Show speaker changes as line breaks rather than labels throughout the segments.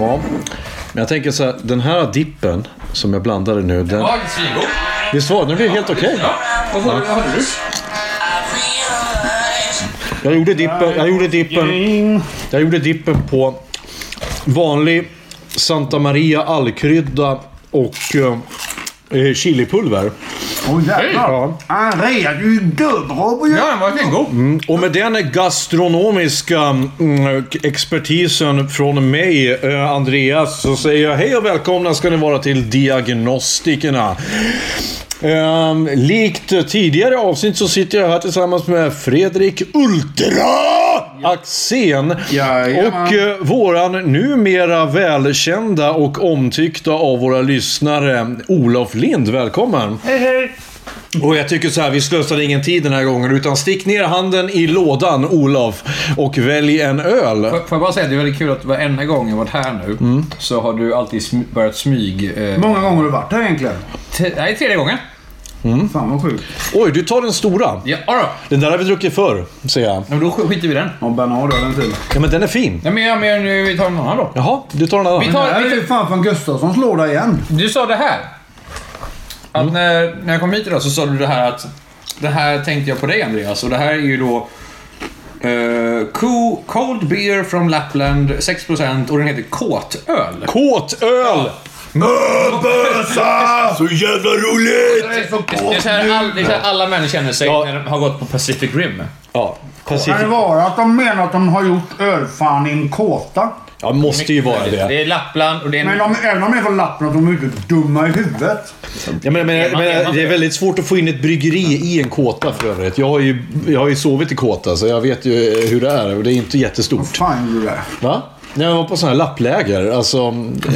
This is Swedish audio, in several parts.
Ja, men jag tänker så här, den här dippen som jag blandade nu, den...
Ja, svingod.
Visst var den? Den blev helt okej.
Vad sa du? Vad hade du?
Jag gjorde dippen, jag gjorde dippen, jag gjorde dippen på vanlig Santa Maria allkrydda och eh, chilipulver.
Åh jävlar!
Ja.
Andrea, du är ju dubbrobb ju!
Ja, den var svingod.
Mm. Och med den gastronomiska mm, expertisen från mig, eh, Andreas, så säger jag hej och välkomna ska ni vara till Diagnostikerna. Ehm, likt tidigare avsnitt så sitter jag här tillsammans med Fredrik Ultra Axén
Jajamän.
och eh, våran numera välkända och omtyckta av våra lyssnare Olof Lind. Välkommen! Och jag tycker så här, vi slösar ingen tid den här gången. Utan stick ner handen i lådan, Olof, och välj en öl.
Får får jag bara säga att det är väldigt kul att varenda gång jag varit här nu så har du alltid sm- börjat smyg... Eh,
många gånger har du varit här egentligen?
te- nej, tredje gången.
Fan vad sjukt.
Oj, du tar den stora.
Ja, ja då.
Den där har vi druckit förr, säger jag.
Ja, men då sk- skiter vi i den.
Ja, Bernard har den till.
Ja, men den är fin.
Nej, men, ja, men nu, vi tar en annan då.
Jaha, du tar den
Vi
andra.
Det
tar,
här är
vi
ju
tar,
fan från Gustafssons låda igen.
du sa det här. Att när, när jag kom hit idag så sa du det här att det här tänkte jag på dig Andreas och det här är ju då eh, Co- Cold Beer from Lapland 6% och den heter Kåtöl.
Kåtöl! Möbösa! Så jävla roligt!
Det är så här, all, det är så här alla människor känner sig när de har gått på Pacific Rim.
Ja,
Kan det
Pacific.
vara att de menar att de har gjort ölfan i en kåta?
Ja, måste ju vara det.
Det är Lappland och det är
Men
en...
de, även om de är från Lappland, de är ju inte dumma i huvudet.
Ja, men, men, men, det är väldigt svårt att få in ett bryggeri i en kåta för övrigt. Jag har ju, jag har ju sovit i kåta, så jag vet ju eh, hur det är. Och det är inte jättestort.
Fan gjorde det.
Va? Jag var på sådana här lappläger. Alltså,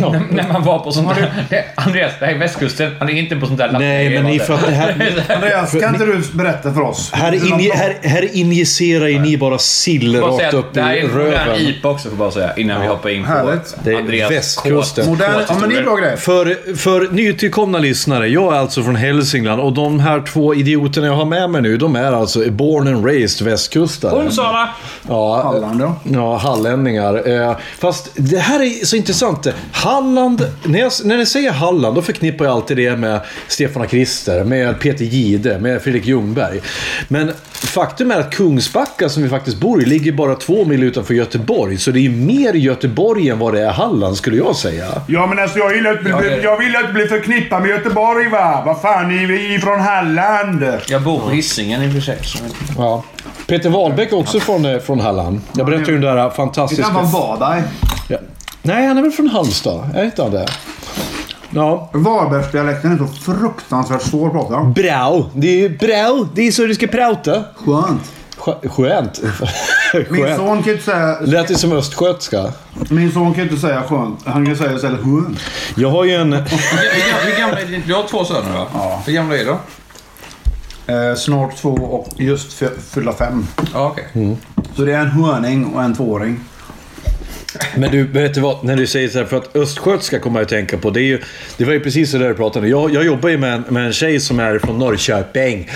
ja.
När man var på sånt där... Det- Andreas, det här är västkusten. Han är inte på sånt där
Nej, men ni för att det här...
Andreas, kan inte du berätta för oss?
Här, inje, här, här injicerar ju ni bara sill
Bara
rakt
säga
upp
att
i
det här är en modern
röven.
IPA också, får jag bara säga. Innan vi hoppar in på
Härligt.
Det är
Andreas
västkusten.
Kåt-
Modern, ja men det är bra grej.
För, för nytillkomna lyssnare, jag är alltså från Hälsingland och de här två idioterna jag har med mig nu, de är alltså born and raised västkustare.
Onsala!
Ja,
Halland ja.
Ja, hallänningar. Eh, Fast det här är så intressant. Halland, när, jag, när ni säger Halland, då förknippar jag alltid det med Stefan och Krister, med Peter Gide, med Fredrik Ljungberg. Men faktum är att Kungsbacka, som vi faktiskt bor i, ligger bara två mil utanför Göteborg. Så det är ju mer Göteborg än vad det är Halland, skulle jag säga.
Ja men alltså jag vill inte
Ja, det- jag
vill inte bli förknippad med Göteborg va. Vad fan, ni är ifrån Halland.
Jag bor på Hisingen i och för sig. så-
Ja. Peter Wahlbeck är också från, eh, från Halland. Jag berättade ju den där
Det
fantastiska...
kan vara Varberg.
Ja. Nej, han är väl från Halmstad? Är inte han det? Ja.
Varbergsdialekten är så fruktansvärt svår att prata.
Bra. Det är ju bra. Det är så du ska prata.
Skönt.
Skö- Skönt.
Min
Skönt.
son kan ju inte säga,
Lät det som östgötska?
min son kan ju inte säga skönt. Han kan säga istället skönt.
Jag har ju en...
Hur gamla- Hur gamla är din... Du har två söner va?
Ja.
Hur gamla är de?
Eh, snart två och just fy- fylla fem.
Ja, okej.
Mm.
Så det är en hörning och en tvååring.
Men du, vet du vad? När du säger så här, för att östgötska kommer jag att tänka på. Det, är ju, det var ju precis så där du pratade. Jag, jag jobbar ju med en, med en tjej som är från Norrköping.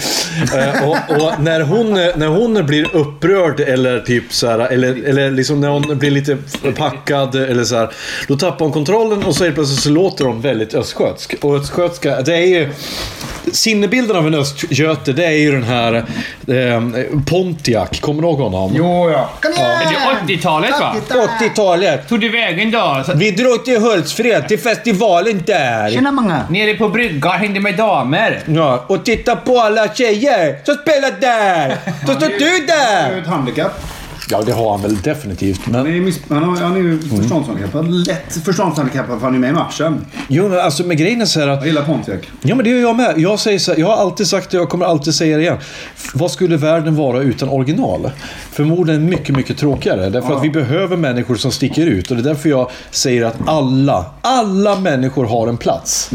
Eh, och och när, hon, när hon blir upprörd eller typ så här, eller, eller liksom när hon blir lite packad eller så här, då tappar hon kontrollen och så helt plötsligt så låter hon väldigt östgötsk. Och östgötska, det är ju... Sinnebilden av en östgöte, det är ju den här eh, Pontiac. Kommer du ihåg honom?
Jo ja.
Det är 80-talet va?
80-talet
galet.
Tog du vägen då? Så,
Vi drog till Hultsfred, till festivalen där.
Tjena många!
nere på bryggan hängde med damer.
Ja, och titta på alla tjejer som spelar där. Så står du
Han har
där.
ett handikapp.
Ja, det har han väl definitivt.
Han
Men...
är, ju miss... han har, han är ju förståndshandikappad. Lätt förståndshandikappad för han är med i matchen.
Jo, men alltså med grejen är så här att...
Jag gillar Pontiac.
Ja, men det gör jag med. Jag, säger så här, jag har alltid sagt det och jag kommer alltid säga det igen. F- Vad skulle världen vara utan original? Förmodligen mycket, mycket tråkigare. Därför att vi behöver människor som sticker ut. Och det är därför jag säger att alla, alla människor har en plats.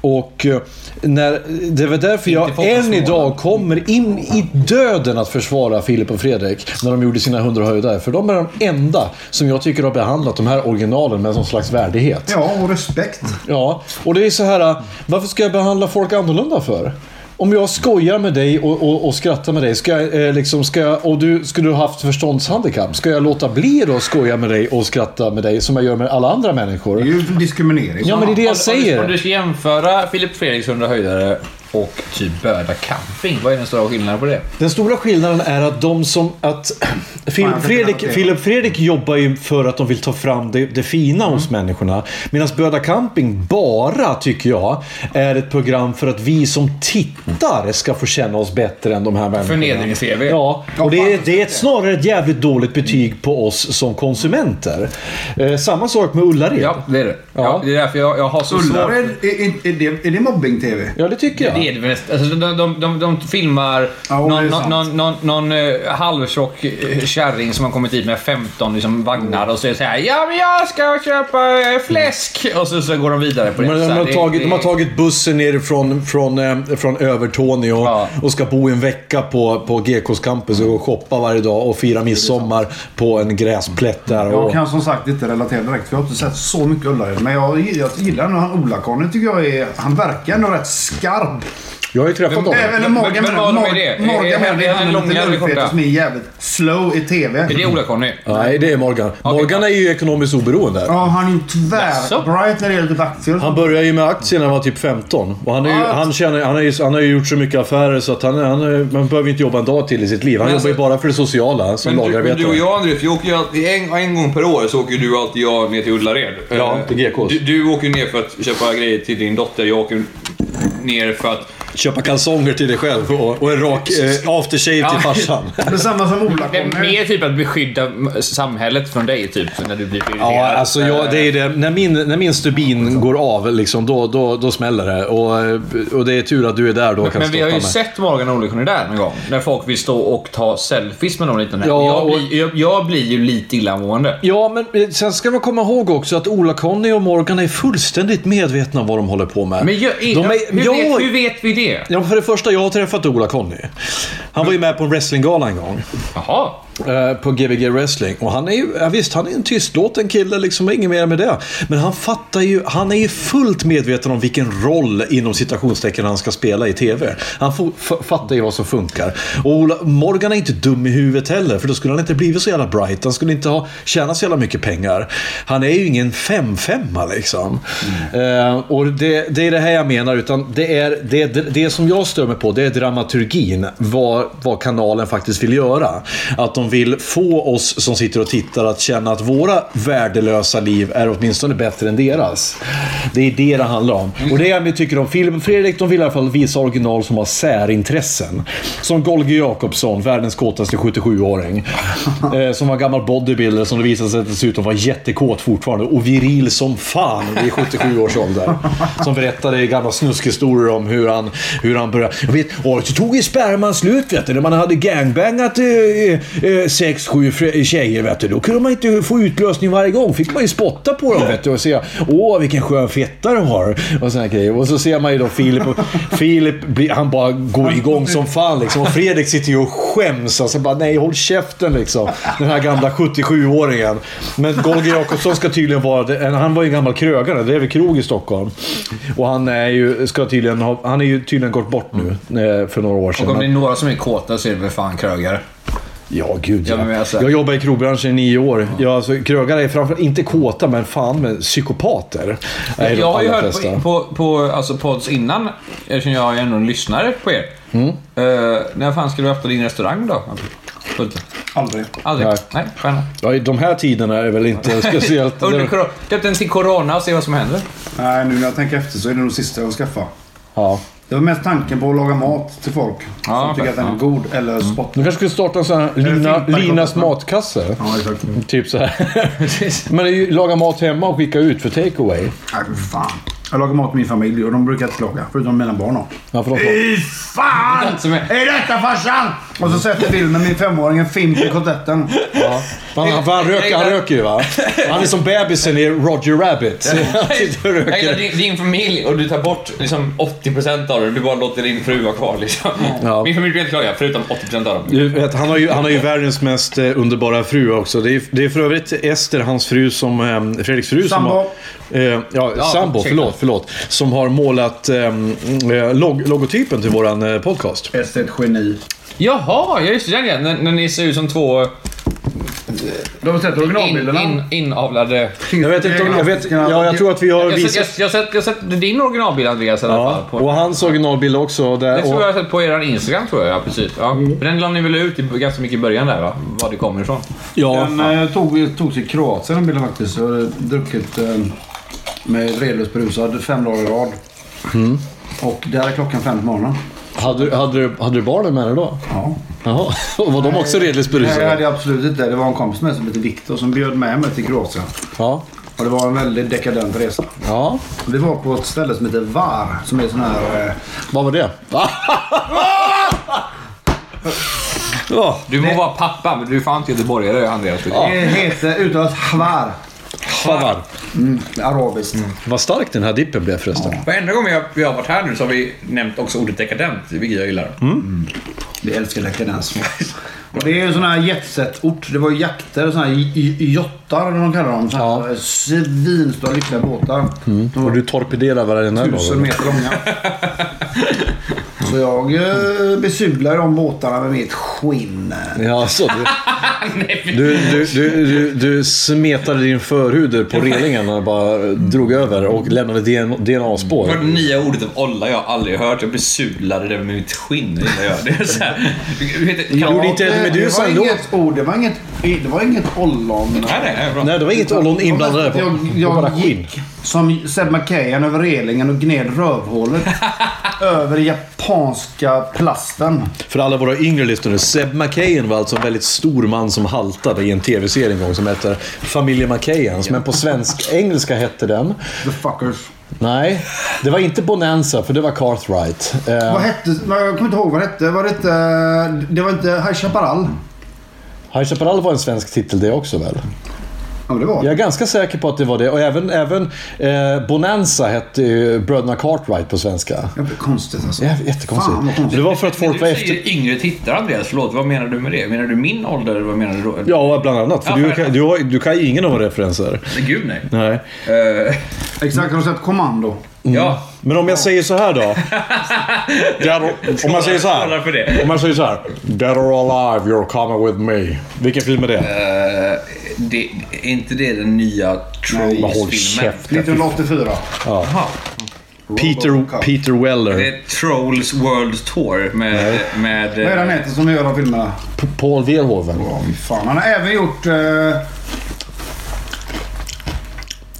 Och eh, när, det var därför jag än idag kommer in i döden att försvara Filip och Fredrik när de gjorde sina 100 höjdare. För de är de enda som jag tycker har behandlat de här originalen med någon slags värdighet.
Ja, och respekt.
Ja, och det är så här. äh, Varför ska jag behandla folk annorlunda för? Om jag skojar med dig och, och, och skrattar med dig ska jag, eh, liksom, ska jag, och du skulle du ha haft förståndshandikapp, ska jag låta bli då att skoja med dig och skratta med dig som jag gör med alla andra
Det är
människor?
ju diskriminering.
Ja, men det är det
Om- om
jag
du- Om
säger.
du ska jämföra Filip Fredriks 100 höjdare och typ Böda camping, vad är den stora skillnaden på det?
Den stora skillnaden är att de som... Att, Filip,
jag förstår
Fredrik,
det.
Filip Fredrik jobbar ju för att de vill ta fram det, det fina hos
Mm.
människorna. Medan Böda Camping bara, tycker jag, är ett program för att vi som tittar ska få känna oss bättre än de här människorna.
Förnedrings-TV.
Ja, och det är, det är ett, snarare ett jävligt dåligt betyg på oss som konsumenter. Eh, samma sak med Ullared.
Ja, det är det. Ja.
Ja.
det är därför jag, jag har så svårt.
Ullared, är, är, är det, är det mobbing-tv?
Ja, det tycker jag.
Det är det väl nästan. alltså, de, de, de, de filmar
Ja, det är
någon,
sant.
någon, någon, någon, någon eh, halvtjock eh, kärring som har kommit hit med 15 liksom, vagnar och säger så här Ja men jag ska köpa eh, fläsk! Och så, så går de vidare på det.
Men
så
de,
här,
har
det-
tagit,
det-
de har tagit bussen ner från, från, eh, från Övertorneå och,
Ja.
och ska bo en vecka på, på GKs campus och gå och shoppa varje dag och fira midsommar på en gräsplätt där.
Jag
Och,
kan som sagt inte relatera direkt för jag har inte sett så mycket Ullared. Men jag, jag gillar nog han Ola-Conny tycker jag är... Han verkar ändå rätt skarp.
jag har ju träffat dem.
Även
men-
Morgan
men vad har de med det?
Mor-
Är- är-
Morgan
är
Melby.
han
Han
lång
är
eller
en liten
korta?
lönnfet som är jävligt slow i TV.
Är det Ola-Conny?
Nej, det är Morgan. Morgan är ju ekonomiskt oberoende.
Ja, han är ju
Jaså?
tvär bright när det gäller aktier.
Han började ju med aktier när han var typ 15. Och han, är ju, han, tjänar, han, har ju, han har ju gjort så mycket affärer så att han, är- han, är- man behöver inte jobba en dag till i sitt liv. Han
Men
jobbar ju
alltså-
bara för det sociala som
Men du, men du och
lagarbetare.
jag Andreas, vi åker ju alltid, en, en gång per år så åker du och alltid jag ner till Ullared.
Ja,
Eh,
till GKs.
Du, du åker ner för att köpa grejer till din dotter. Jag åker ner för att...
Köpa kalsonger till dig själv och, och en rak eh, aftershave till farsan.
Det är samma som Ola-Conny.
Mer typ att beskydda m- samhället från dig, typ, när du blir irriterad.
Ja, alltså
eh,
jag, det är det. När min, när min stubin går av, liksom, då, då, då smäller det. Och, och det är tur att du är där då och kan
Men vi
stoppa
har ju
mig.
sett Morgan och Ola-Conny där en gång. När folk vill stå och ta selfies med någon liten.
Ja,
jag,
och-
blir, jag, jag blir ju lite illamående.
Ja, men eh, sen ska man komma ihåg också att Ola-Conny och Morgan är fullständigt medvetna om vad de håller på med.
Men jag,
de
hur,
ja,
vet, hur vet vi det?
Ja, för det första, jag har träffat Ola-Conny. Han var ju med på en wrestlinggala en gång.
Jaha.
eh, på Gbg Wrestling. Och han är ju, ja, visst, han är en tystlåten kille liksom, och inget mer med det. Men han fattar ju, han är ju fullt medveten om vilken roll inom citationstecken han ska spela i TV. Han fo- f- fattar ju vad som funkar. Och Ola, Morgan är inte dum i huvudet heller, för då skulle han inte blivit så jävla bright. Han skulle inte ha tjänat så jävla mycket pengar. Han är ju ingen femfemma liksom. Eh, och det, det är det här jag menar, utan det är det, det, det som jag stör mig på, det är dramaturgin. Vad, vad kanalen faktiskt vill göra. Att de vill få oss som sitter och tittar att känna att våra värdelösa liv är åtminstone bättre än deras. Det är det det handlar om. Och det jag tycker om Filip och Fredrik, de vill i alla fall visa original som har särintressen. Som Golgi Jakobsson, världens kåtaste 77-åring. Eh, som var gammal bodybuilder som det visade sig dessutom var jättekåt fortfarande och viril som fan vid 77 års ålder. Som berättade gamla snuskhistorier om hur han, hur han började... Jag vet, åh, så tog ju sperman slut vet du. När man hade gangbangat eh, eh, sex, sju fr- tjejer vet du. Då kunde man inte få utlösning varje gång. fick man ju spotta på dem vet du och säga åh vilken skön fetta de har. Och såna här grejer. Och så ser man ju då Filip. Och, Filip blir, han bara går igång som fan liksom. Och Fredrik sitter ju och skäms. Alltså bara nej håll käften liksom. Den här gamla 77-åringen. Men Golge Jakobsson ska tydligen vara... det- Han var ju en gammal krögare. Det är väl krog i Stockholm. Och han är ju, ska tydligen ha, han är ju tydligen gått bort nu eh, för några år sedan.
Och om
Men-
det är några som är kåta så är det väl fan krögare.
Ja, gud ja.
Ja, men alltså-
Jag jobbade i krogbranschen i nio år. Ja, alltså, krögare är framförallt inte kåta, men fan men psykopater. Är de
jag har ju
allra
hört
flesta.
på, på, på alltså pods innan, eftersom jag
Mm.
är ändå en lyssnare på er. Eh, när fan ska du öppna din restaurang då? Putte?
Aldrig.
Aldrig.
Nej.
Nej, stjärna.
Ja, i de här tiderna är det väl inte speciellt...
Under cor- Döp den till Corona och se vad som händer.
Nej, nu när jag tänker efter så är det nog sista jag skaffar.
ja.
Det var mest tanken på att laga mat till folk.
Ja,
som tycker att den är
ja.
god eller
Mm.
spott.
Du kanske skulle starta en sån här Lina,
fimpar i
Linas
kroppen.
matkasse?
Ja, exakt.
Typ så här. Men det är ju laga mat hemma och skicka ut för takeaway.
Nej, för fan. Jag lagar mat till min familj och de brukar inte klaga. Förutom mina barn då.
Ja, för de får-
Fy fan! Är detta farsan? Och så sätter filmen min femåring en fimp i kotletten.
Fan, han, han, röker, han röker ju va? Han är som bebisen i Roger Rabbit. Han sitter och
Jag gillar
röker.
din, din familj och du tar bort liksom 80% av det. Du bara låter din fru vara kvar liksom.
Ja.
Min familj blir helt klaga, förutom 80% av dem.
Du vet, han, har ju, han har ju världens mest eh, underbara fru också. Det är, det är för övrigt Ester, hans fru, som, eh, Fredriks fru,
Sambo.
som har... Eh, ja, sambo.
ursäkta.
Förlåt, förlåt. Som har målat eh, eh, log- logotypen till våran eh, podcast.
Ester är ett geni.
Jaha, jag just det. den grejen. När, när ni ser ut som två
Du har sett
in,
originalbilderna?
in, inavlade...
Jag vet inte om... Jag, vet, ja, jag tror att vi har
Jag har sett, jag,
visat...
jag, har sett, jag har sett din originalbild Andreas i alla
Ja,
fall. På,
och hans originalbild också.
det
Där, och,
tror jag jag har sett på er Instagram tror jag, ja, precis. Ja. Den la ni väl ut i, ganska mycket i början där va? Var det kommer ifrån.
ja,
Den eh, tog, tog sig i Kroatien den bilden faktiskt. Jag har druckit eh, med redlöst berusad fem dagar i rad. Mm. Och där är klockan fem på morgonen.
eh-
hade, hade, du- hade du barnen med dig då?
Ja.
Jaha, och var de också redligt
Nej, det
berusade?
hade jag absolut inte. Det var en kompis med som hette Viktor som bjöd med mig till Kroatien.
Ja.
Och det var en väldigt dekadent resa.
ja.
Vi var på ett ställe som heter Var. Som är sån här... Eh,
Vad var det? ja.
Du må vara pappa, men du är fan inte göteborgare Andreas.
Det heter uttalat Hvar.
Fan vad-
Arabiskt.
Vad stark den här dippen blev förresten.
Varenda gång vi har, vi har varit här nu så har vi nämnt också ordet dekadent, vilket jag gillar.
Mm.
Vi älskar dekadens. Och det är ju sån här jetset-ort. Det var ju jakter och såna här j- j- jottar eller vad de kallar dem. Såna här svinstora lyckliga båtar. De
Och
var
du torpederar varenda dag.
tusen meter långa. Så jag eh, besudlar de båtarna med mitt skinn.
Ja, så du, du, du, du, du, du smetade din förhud på relingen och bara drog över och lämnade DNA-spår.
Jag hörde nya ordet av olla jag har aldrig hört. Jag besudlade det med mitt skinn innan jag gör det. det. är så här- Hur heter- kan-
gjorde inte
det,
en medusa
var
ändå.
inget, oh, det var inget Det var inget ollon.
Nej, nej, nej, bra.
Nej, det var inget ollon inblandat där.
Jag,
Det var bara
jag
skinn.
gick som Seb Macahan över relingen och gned rövhålet över den japanska plasten.
För alla våra yngre lyssnare, Seb McKayen var alltså en väldigt stor man som haltade i en tv-serie en gång som heter Familjen McKayens. Men på svensk-engelska hette den.
The fuckers.
Nej, det var inte Bonanza, för det var Cartwright. Eh,
Vad hette... nej, Jag kommer inte ihåg vad det hette. Var det, inte, det var inte High Chaparral?
High Chaparral var en svensk titel det också väl?
Ja, det var
Jag
det.
är ganska säker på att det var det. Och även, även eh, Bonanza hette ju Bröderna Cartwright på svenska.
Ja, det är Konstigt alltså.
Jä- Jättekonstigt.
Fan, vad konstigt.
Det var för att folk var
Du
efter...
säger yngre tittare Andreas, förlåt. Vad menar du med det? Menar du min ålder? eller Vad menar du då?
Ja, bland annat. För
Ja,
du,
för-
kan, du, har, du kan ju ingen av våra referenser.
Nej, Gud nej.
Nej. Mm.
Eh,
Exakt, har du sett Kommando?
ja,
Men om jag säger så här då. Dead- om man säger så
Skålar för
här.
det.
Om man säger så här. Dead or alive, you're coming with me. Vilken film är det?
eh, det, är inte det den nya
Bara håll
Trolls-filmen?
käften.
1984.
Jaha.
Peter, Peter
Det
Weller.
är Trolls World Tour med... med
Vad är det han heter som gör de filmerna?
P- Paul Verhoeven.
Ja, fy fan. Han har även gjort... Eh...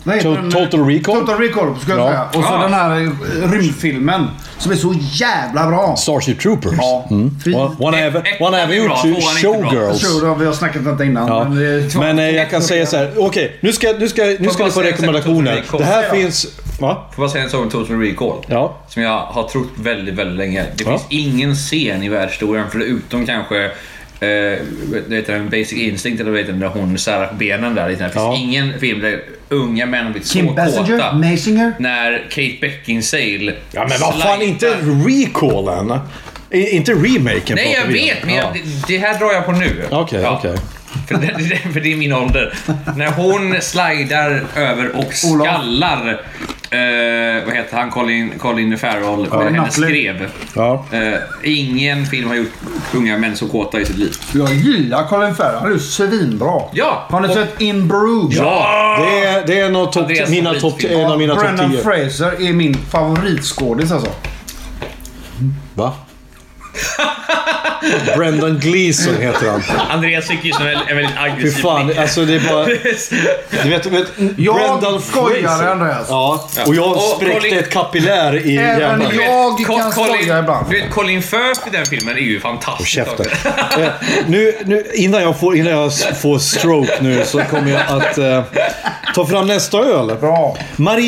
Vad heter
To-
den? eh,
Total Recall?
Total Recall skulle
Ja.
jag säga. Och så
Ah.
den här eh, rymdfilmen som är så jävla bra.
Starship Troopers. Mm.
Ja. Fy-
Och Hon har även- hon har även
Ettan är bra,
gjort
tvåan är inte bra.
Showgirls.
Sure, då, vi har snackat om detta innan.
Ja.
Men, det-
Men eh, jag kan säga så här. Okej, nu ska, nu ska, nu ska ni få rekommendationer. Det här finns... Va?
Får jag säga en sak om Total Recall?
Ja.
Som jag har trott väldigt, väldigt länge. Det
Ja.
finns ingen scen i världshistorien förutom kanske eh, vad heter den, Basic Instinct eller vad heter den, där hon särar benen där. lite. Det finns
Ja.
ingen film där unga män har blivit så
Kim Basinger?
kåta.
Mazinger?
När Kate Beckinsale...
Ja, men vad fan,
slidar-
inte recallen. I, inte remaken.
Nej,
pratar
jag
vi om.
vet, men jag,
Ja.
det- det här drar jag på nu.
Okej, okej.
För det, det, för det är min ålder. När hon slidar över och
Olof.
skallar... Eh, vad heter han? Colin, Colin Farrell. Ja, henne
Nutley.
skrev.
Ja.
Eh, ingen film har gjort unga män så kåta i sitt liv.
Jag gillar Colin Farrell. Han är ju svinbra.
Ja.
Har ni sett In Bruges?
Ja, det är, det är en av topp-
Andreas
mina
favoritfilm.
topp- en av mina topp
Brendan
10.
Fraser är min favoritskådis alltså.
Va? Brendan Gleeson heter han.
Andreas gick ju som en, en väldigt
Fy
aggressiv
fan,
blick.
alltså det är bara... Du vet, du vet Brendan
skojar,
Fraser.
Andreas.
Ja, och jag
Och
spräckte
Colin-
ett kapillär i
Även
hjärnan.
jag
Col-
kan skoja ibland.
Du vet, Colin Firth i den filmen är ju fantastisk.
Käften. Eh, nu, nu, innan, jag får, innan jag s- får stroke nu så kommer jag att eh, ta fram nästa öl.
Bra.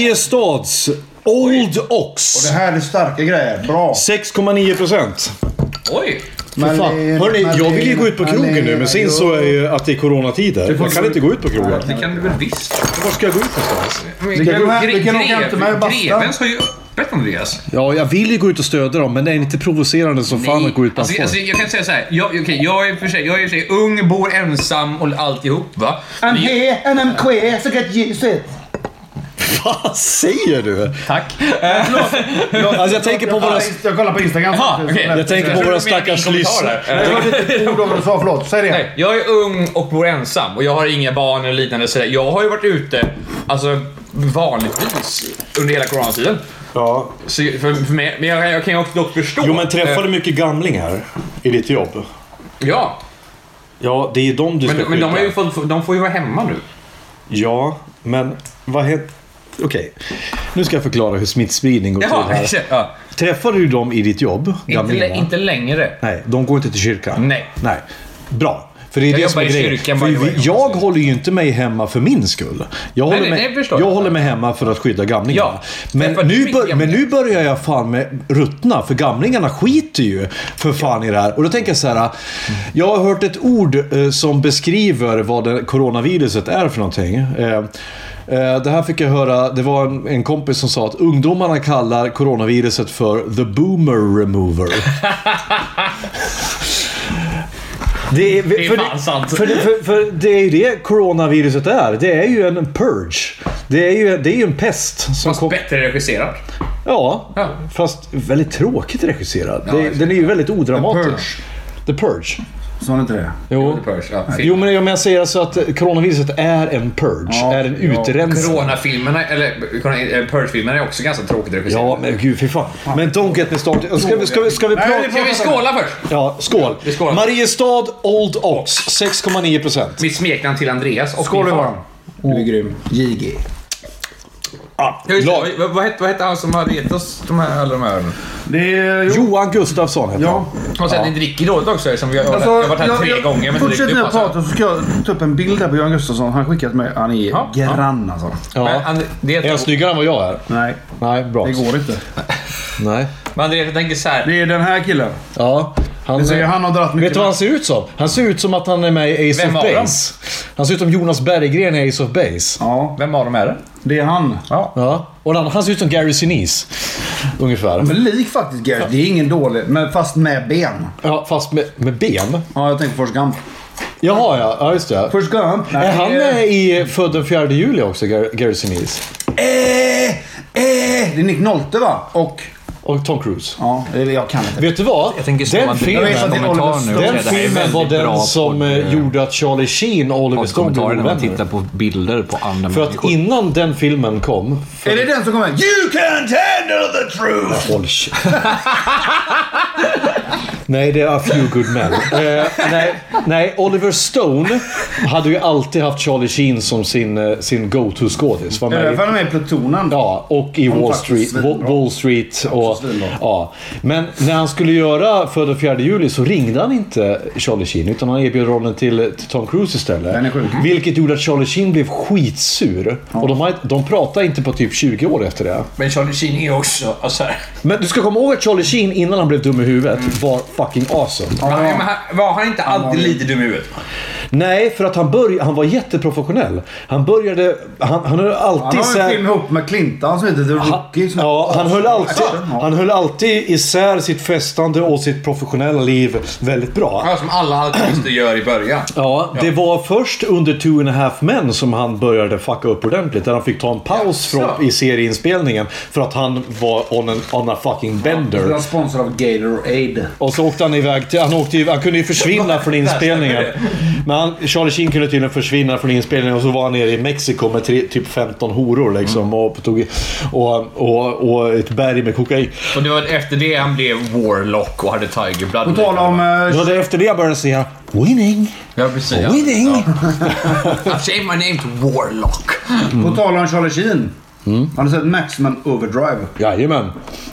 Mariestads Old Ox.
Det här är starka grejer. Bra.
6,9 procent.
Oj!
Fan.
Malin,
Hörrni, jag vill ju gå ut på
Malin,
krogen nu, men
Malin,
sen så är ju att det är coronatider. Jag kan inte gå ut på krogen.
Det kan du väl visst?
Var ska jag gå ut någonstans?
Vi
kan åka- vi kan åka hem till mig och basta.
Grevens har ju öppet, Andreas.
Ja, jag vill ju gå ut och stödja dem, men det är inte provocerande som fan att gå ut på
alltså, alltså,
alltså,
Jag kan säga såhär. Jag, okay, jag är för sig, jag är för sig ung, bor ensam och alltihop va.
I'm
Men jag-
here and I'm queer, so get used to it.
Vad säger du?
Tack.
Alltså, jag tänker på våra...
Jag kollar på Instagram.
Jaha, Ah, okej.
Jag tänker på våra stackars lyssnare.
lyssnare.
Jag hörde inte ett ord av vad du sa. Förlåt. Säg det.
Nej, jag är ung och bor ensam och jag har inga barn eller liknande. Så jag har ju varit ute, alltså vanligtvis, under hela coronatiden.
Ja.
Så för, för mig, men jag, jag kan ju också dock förstå.
Jo, men
Eh,
träffar du mycket gamlingar i ditt jobb?
Ja,
Ja, det är dem du ska
men, men de, har
skydda.
ju fått, de får ju vara hemma nu.
Ja, men vad heter... Okej, nu ska jag förklara hur smittspridning går till
Jaha,
här.
ja.
Träffar du dem i ditt jobb?
inte,
gamlingarna?
lä- inte längre.
Nej, de går inte till kyrkan.
Nej.
Nej. Bra. För det är
Jag
det som är
jobbar i
grejen.
kyrkan,
för
by the way.
vi, jag håller ju inte mig hemma för min skull. Jag håller,
nej,
mig,
det förstår
jag
jag.
håller mig hemma för att skydda gamlingarna.
Ja,
men,
därför att du
nu
är
bör,
gamling.
men nu börjar jag fan med ruttna, för gamlingarna skiter ju för fan i det här. Och då tänker jag så här. Jag har hört ett ord eh, som beskriver vad det, coronaviruset är för någonting. Eh, eh, det här fick jag höra, det var en, en kompis som sa att ungdomarna kallar coronaviruset för the boomer remover. Det är,
är
för,
fan sant.
För, för, för det är ju det coronaviruset är. Det är ju en purge. Det är ju, det är ju en pest. Som
Fast
kom,
bättre regisserat.
ja,
Ja.
fast väldigt tråkigt regisserad. det, den är ju väldigt odramatisk. The Purge.
Sa ni inte det?
Jo.
The Purge, ja.
Jo, men jag menar säger alltså att coronaviruset är en purge.
Ja,
är en
ja.
utrensning.
Corona-filmerna, eller corona- eh, Purge-filmerna är också ganska tråkigt regisserade.
Ja, men gud, fy fan. Men don't get me started. Ska vi, ska vi, ska vi prata...
Ska vi skåla först?
Ja, skål.
vi skålar.
Mariestad Old Ox, 6,9 procent.
Mitt smeknamn till Andreas och
Skål
min far.
Johan. Du är grym. JG.
Ja, just det.
Lag.
Vad, vad, hette, vad hette han som hade gett oss de här, alla de här ölen?
Det är... Jo.
Johan Gustafsson heter han.
Ja. Alltså,
Och sen ni dricker dåligt också eftersom vi har,
Alltså,
jag har varit här tre gånger. Men
Fortsätt
dricker
nu
upp,
att
alltså.
prata så ska jag ta upp en bild här på Johan Gustafsson. Han skickat mig. Han är
Ja,
grann alltså.
Ja.
Men, And, det
Är jag snyggare än vad jag är?
Nej,
Nej, bra.
det går inte.
Nej.
men Andreas, jag tänker så här.
Det är den här killen.
Ja, han,
Det säger han har dragit mycket.
vet du vad han ser ut som? Han ser ut som att han är med i Ace
Vem
of
av dem?
Base. Han ser ut som Jonas Berggren i Ace of Base.
Ja,
Vem av dem är det?
det är han.
Ja. Och han, han ser ut som Gary Sinise. Ungefär.
Men lik faktiskt Gary. Det är ingen dålig, men fast med ben.
Ja, fast med, med ben.
Ja, jag tänker Forrest Gump.
Jaha, ja. Ja, just det.
Forrest Gump? Nej,
Är han
det
med i Född den 4 juli också, Gar- Gary Sinise?
Eh, eh, det är Nick Nolte va? Och...
Och Tom Cruise.
Ja, eller jag kan inte.
Vet du vad?
Jag tänker
Den filmen,
vet att det är Oliver Stone.
den filmen var den som eh, gjorde att Charlie Sheen och Oliver Stone blev
kommentarer när man
ovänner.
tittar på bilder på andra
För att innan den filmen kom... För...
Är det den som kommer? You can't handle the truth!
Håll käften. Nej, det är A Few Good Men. Eh, nej, nej, Oliver Stone hade ju alltid haft Charlie Sheen som sin, eh, sin go-to-skådis. Var
Det är
med i-
därför han är med i Plutonen.
Ja, och i Wall
faktiskt
Street, Wa-
svinbra.
Wall Street och...
svinbra.
Ja. Men när han skulle göra För den 4 juli så ringde han inte Charlie Sheen utan han erbjöd rollen till, till Tom Cruise istället.
Den är sjuk.
Vilket gjorde att Charlie Sheen blev skitsur. Och de, har- de pratade inte på typ 20 år efter det.
Men Charlie Sheen är också... Alltså, här.
Men du ska komma ihåg att Charlie Sheen, innan han blev dum i huvudet, var fucking awesome.
Han- men han, var han inte alltid lite dum i huvudet?
Nej, för att han, börj- han var jätteprofessionell. Han började... Han, han höll
Han
alltid...
har en
isär-
film ihop med Clinton som heter The Rookie. som-
Ja, han höll, alltid,
Ja.
han höll alltid isär sitt festande och sitt professionella liv väldigt bra.
Ja, som alla alkoholister gör i början.
Ja, det var först under Two and a half men som han började fucka upp ordentligt. Där han fick ta en paus från, i serieinspelningen för att han var on, an, on a fucking
Han
bender.
är sponsrad av Gatorade.
Och så åkte han iväg till... Han, åkte, ju- han kunde ju försvinna från inspelningen. Men han, Charlie Sheen kunde tydligen försvinna från inspelningen och så var han nere i Mexiko med tre, typ 15 horor liksom. Och, tog, och, och, och ett berg med kokain.
Och det var efter det han blev Warlock och hade Tiger Blood.
På tal om...
Det
eh,
var det efter det jag började säga “Winning,
Ja, precis. Ja.
winning”.
I've changed my name to Warlock.
Mm.
På tal om Charlie Sheen. Har ni sett Maximum Overdrive?
Jajamän.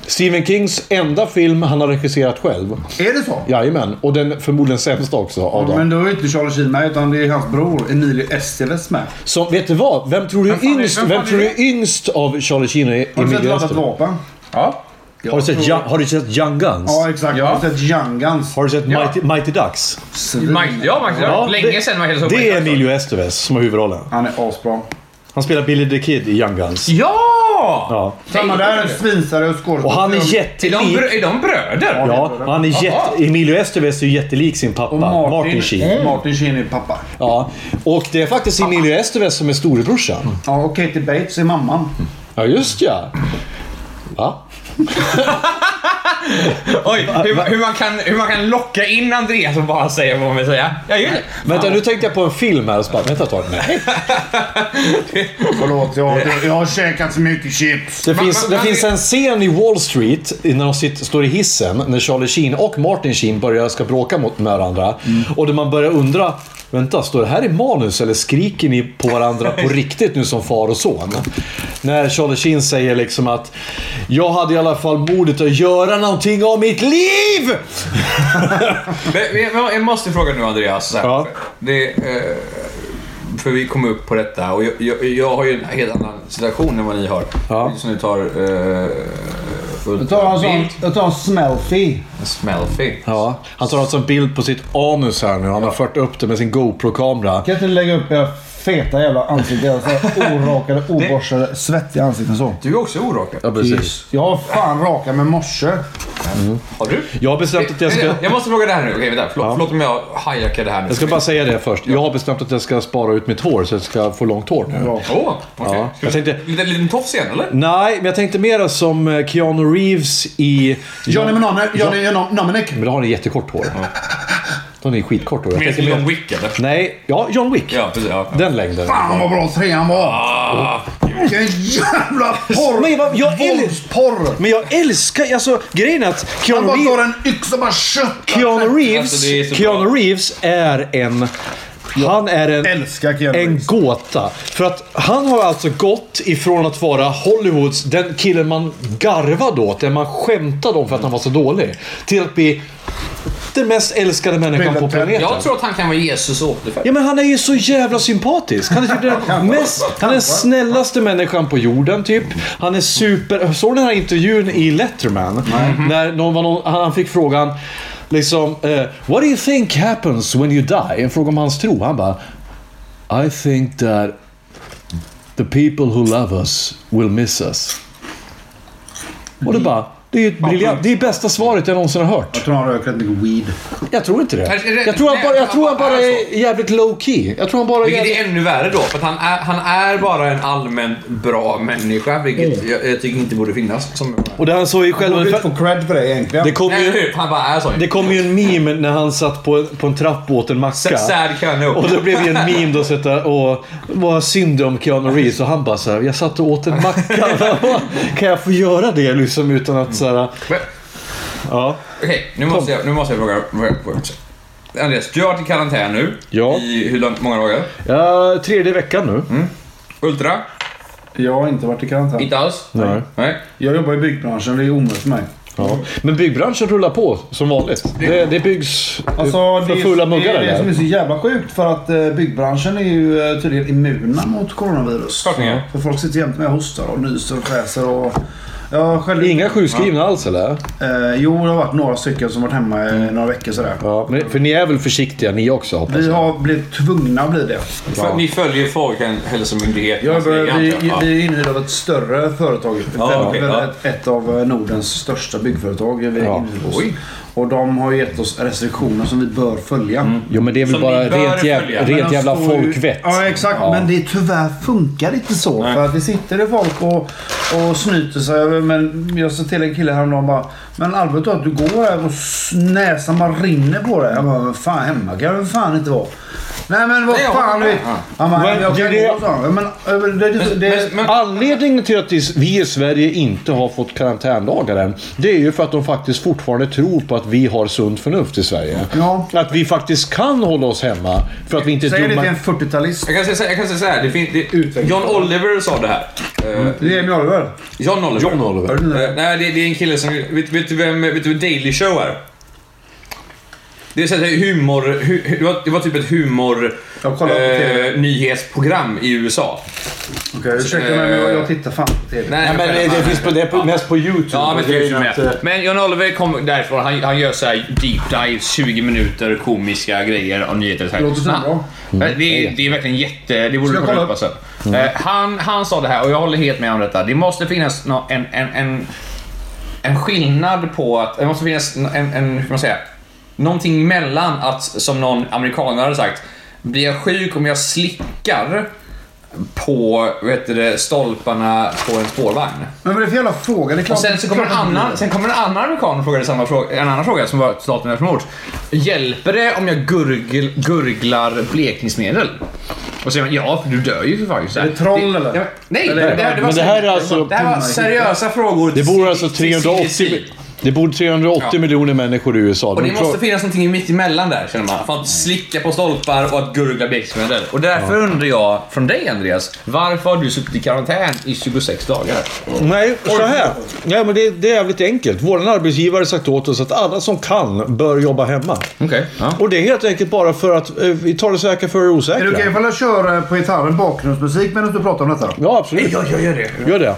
Stephen Kings enda film han har regisserat själv.
Är det så?
Jajamän. Och den förmodligen sämsta också av
Ja,
dem.
men då är inte Charlie Sheen med utan det är hans bror Emilio Esteves med.
Som, vet du vad? Vem tror du är yngst, vem tror du är yngst av Charlie Sheen och
Har du
Emilio
sett Laddat
Estevez?
vapen?
Ja.
Har du sett, Young- har du sett Young Guns?
Ja exakt.
Ja.
Har du sett Young Guns?
Har du sett Mighty, Mighty Ducks?
Svin.
Mike, ja, Mike, ja. Länge sedan Michael
Det, det är Emilio Estevez som har huvudrollen.
Han är asbra.
Han spelar Billy the Kid i Young Guns.
Ja!
Ja.
Samma där, svinsare och skådespelare.
Och han är
Är de,
jättelik.
brö- är de bröder?
Ja, och han är jätte... Emilio Estevez är ju jättelik sin pappa,
Och Martin, Eh,
Martin Sheen.
Martin Sheen är pappa.
Ja. Och det är faktiskt Emilio Estevez som är storebrorsan.
Ja, och Katie Bates är mamman.
Ja, just ja. Va?
Oj, hur, hur, man kan, hur man kan locka in Andreas och bara säga vad man vill säga. Ja, just det.
Vänta, nu tänkte jag på en film här och så bara, vänta ett tag. Nej.
Förlåt, jag, har- jag har käkat så mycket chips.
Det, finns,
man-
det
man-
finns en scen i Wall Street när de sitter, står i hissen när Charlie Sheen och Martin Sheen börjar ska bråka mot med varandra. Och där man börjar undra, vänta, står det här i manus eller skriker ni på varandra på riktigt nu som far och son? När Charlie Sheen säger liksom att jag hade i alla fall modet att göra någonting av mitt liv!
Men- men Jag jag måste fråga nu Andreas. Så här.
Ja.
Det, eh, för vi kom upp på detta och jag, jag, jag har ju en helt annan situation än vad ni har.
Ja.
Så ni tar... Eh,
Jag tar en sån, jag tar en smelfy.
Smelfy.
Ja, han tar alltså en bild på sitt anus här nu. Han har fört upp det med sin GoPro-kamera.
Kan inte ni lägga upp era feta jävla ansikten? Era så här Orakade, oborstade, svettiga ansikten så.
Du är också orakad.
Ja, precis.
Jag har fan rakat med morse.
Har du? Eh,
Jag har bestämt att jag ska...
Jag måste fråga det här nu. Okej, vänta. Förlåt, förlåt om jag hijackar det här nu.
Jag ska bara säga det först. Jag har bestämt att jag ska spara ut mitt hår så jag ska få långt hår nu.
Åh, okej.
Ja.
Ska
Jag
vi-
tänkte-
Lite liten tofs igen, eller?
Nej, men jag tänkte mera som eh, Keanu Reeves i...
Johnny Menoner, Johnny Johnny- Dominic.
Men då har ni jättekort hår. Då har ni skitkort hår. Jag
Mer
tänkte
som John
mer...
Wick, eller?
Nej, ja, John Wick.
Ja, precis. Ja. Ah,
Den längden.
Fan vad bra trean var. Vilken jävla porr.
Men jag- jag är-
Våldsporr.
Men jag älskar... Alltså, grejen är att
Han
Keanu
bara tar
Reeves...
en yxa och bara köttar.
Keanu Reeves,
Alltså, det är så bra.
Keanu Reeves är en... Han är en...
Älskar Keanu
En
Reeves.
gåta. För att han har alltså gått ifrån att vara Hollywoods, den killen man garvade åt, den man skämtade om för att han var så dålig, till att bli den mest älskade människan på planeten.
Jag tror att han kan vara Jesus återfärd.
Ja men han är ju så jävla sympatisk. Han är typ den mest, han är den snällaste människan på jorden typ. Han är super... Såg du den här intervjun i Letterman?
Mhm.
När någon, var någon, han fick frågan liksom eh, “What do you think happens when you die?” En fråga om hans tro. Han bara “I think that the people who love us will miss us”. Och det bara... Det är ju ett briljant, det är bästa svaret jag någonsin har hört.
Jag tror han röker rätt mycket weed.
Jag tror inte det.
Är det- alltså.
Jag tror han bara, jag tror han bara är jävligt low key. Jag tror han bara är
Vilket
jävligt...
är ännu värre då, för att han är, han är bara en allmänt bra människa,
Mm.
vilket jag, jag tycker inte borde finnas. Som,
Och det han såg ju själva...
Du får cred för det egentligen.
Det kom
nej,
ju,
hur? Han bara är så.
det kom ju en meme när han satt på, på en trappa åt en macka.
Sad Keanu.
Och då blev ju en meme då sätta och vad synd om Keanu Reeves och han bara såhär, jag satt och åt en macka. kan jag få göra det liksom utan att såhär,
Men-
ja.
Okej, nu, måste jag- nu måste jag fråga. fråga- fråga. Andreas, du har varit i karantän nu.
Ja.
I hur lång- många dagar?
ja. Tredje veckan nu.
Mm.
Ultra?
Jag har inte varit i karantän.
Inte alls?
Nej.
Nej.
Jag jobbar i byggbranschen, det är omöjligt för mig.
Ja. Men byggbranschen rullar på som vanligt. Det, det byggs
Alltså,
för
det, är,
fulla muggar
det är det som
eller?
är så jävla sjukt för att eh, byggbranschen är ju eh, tydligen immuna mot coronavirus.
Klart ni är.
För folk sitter jämt med och hostar och nyser och fräser och... Jag själv,
Inga sjukskrivna alls eller?
Eh, jo, det har varit några stycken som varit hemma i
Mm.
några veckor sådär.
Ja, men, för ni är väl försiktiga ni också hoppas
Vi
jag?
har blivit tvungna att bli det.
För, ni följer Folkhälsomyndigheten.
Jag
alltså, det är
börjar, vi,
ganska- ja.
vi är inhyrda av ett större företag.
Ja,
Väldigt-
okej,
väldigt-
ja.
ett, ett av Nordens största eh, byggföretag. är Vi
Ja.
ja.
Oj.
Och de har gett oss restriktioner som vi bör följa.
Mm.
Jo, men det är väl
Som
bara
ni bör
rent,
följa,
jäv,
Men
rent
de
jävla
står ju-
folkvett.
Ja, exakt. Men det tyvärr funkar inte så. För att det sitter det folk och, och snyter sig över. Men jag sa till en kille häromdagen bara. Men Albert, att du går här och s- näsan bara rinner på dig. Jag bara, "Men fan hemma kan du fan inte vara. Nej men vad
Nej, jag
fan
håller
vet.
med. Ja.
Han bara,
Men
jag kan
det-
gå så. Ja, Men, eh, men det, det, det,
Men, men,
Anledningen till att vi i Sverige inte har fått karantänlagar än, det är ju för att de faktiskt fortfarande tror på att vi har sunt förnuft i Sverige.
Ja.
Att vi faktiskt kan hålla oss hemma för att vi inte
Säg
är
det till
dumma.
en 40-talist.
jag kan säga så här- jag kan säga så här. Det fin, det, John Oliver sa det här. Eh,
Det är Emil Oliver.
John Oliver.
John Oliver.
Eh, nej, det, det är en kille som... Vet, vet, du vem, vet du vem Daily Show är? Det är så här humor... Hu, det, var, det var typ ett humor... eh,
Jag kollar på TV.
nyhetsprogram i USA.
Okej, ursäkta mig men jag- jag tittar fan på TV.
Nej,
Men det, det finns på, det är på, mest på YouTube.
Ja, men,
Och grejen
det är
är att, eh,
med. men John Oliver kom därifrån. Han, han gör så här deep dives, 20 minuter komiska grejer och nyheter. Så här.
Låter så
Han-
bra.
Eh, Det,
Mm.
är- det är verkligen jätte... Det borde du
Ska
kolla
jag kolla
upp alltså. Eh, Han, han sa det här och jag håller helt med om detta. Det måste finnas nå- en, en, en, en skillnad på att... Det måste finnas en, en hur ska man säga? Någonting mellan att, som någon amerikanare hade sagt, blir jag sjuk om jag slickar på vet du, det, stolparna på en spårvagn?
Men vad är det för jävla fråga? Det är klart,
Och sen så kommer en
klart att-
annan, sen kommer en annan amerikan och frågade samma fråga, en annan fråga som var staten efter mord. Hjälper det om jag gurgel, gurglar blekningsmedel? Och så säger man ja, för du dör ju för fan. Så här.
Är det troll,
Det-
eller?
Ja, nej,
Eller-
det, det, här, det, var,
Men det här är alltså...
det här var seriösa frågor.
Det bor alltså
till- till
380,
CDC.
det bor 380 miljoner människor i USA.
Och
De
det
tror-
måste finnas någonting mitt emellan där känner man. För att slicka på stolpar och att gurgla blekningsmedel. Och därför undrar jag från dig Andreas, varför har du suttit i karantän i 26 dagar?
Mm.
Nej, så här. Nej, men det, det är jävligt enkelt. Vår arbetsgivare har sagt åt oss att alla som kan bör jobba hemma.
Okej. Ja.
Och det är helt enkelt bara för att eh, vi tar det säkra för det
Är
osäkra.
det okej ifall jag kör eh, på gitarren bakgrundsmusik medan du pratar om detta?
Ja, absolut.
Jag, jag gör det.
Gör det.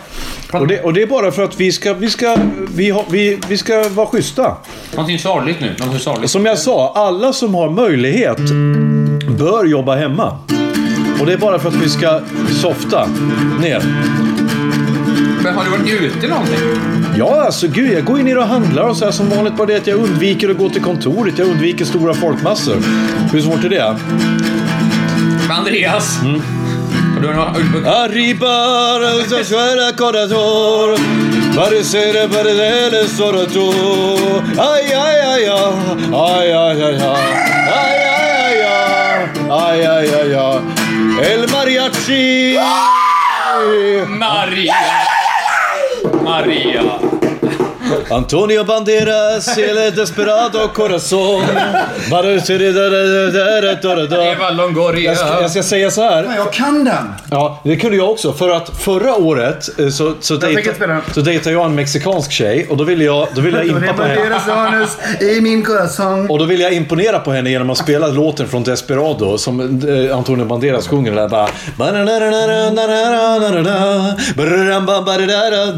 Och det, och det är bara för att vi ska, vi ska, vi har, vi, vi ska vara schyssta.
Någonting sorgligt nu. Någonting sorgligt.
Som jag sa, alla som har möjlighet bör jobba hemma. Och det är bara för att vi ska softa ner.
Men har du varit ute någonting?
Ja, alltså gud, jag går ju ner och handlar och så här som vanligt. Bara det att jag undviker att gå till kontoret. Jag undviker stora folkmassor. Hur svårt är det?
Med Andreas. Och du har några-
Arriba nuestra suela corazón. Parecer perder el tú. Ay, ay, ay, ay. Ay, ay, ay, ay. Ay, ay, ay, ay. Ay, ay, ay, ay. El mariachi.
Maria! Maria.
Antonio Banderas, El Desperado Corazón. Parecer perder el
Eva Longoria.
Jag ska, jag ska säga så här.
Nej, jag kan den!
Ja, det kunde jag också. För att förra året eh, så, så,
tänker spela den.
dejta, så dejtade jag en mexikansk tjej och då ville jag, då ville jag,
Det
impa på
är
henne.
deras anus i min corazón.
Och då ville jag imponera på henne genom att spela låten från Desperado som eh, Antonio Banderas sjunger. Där bara...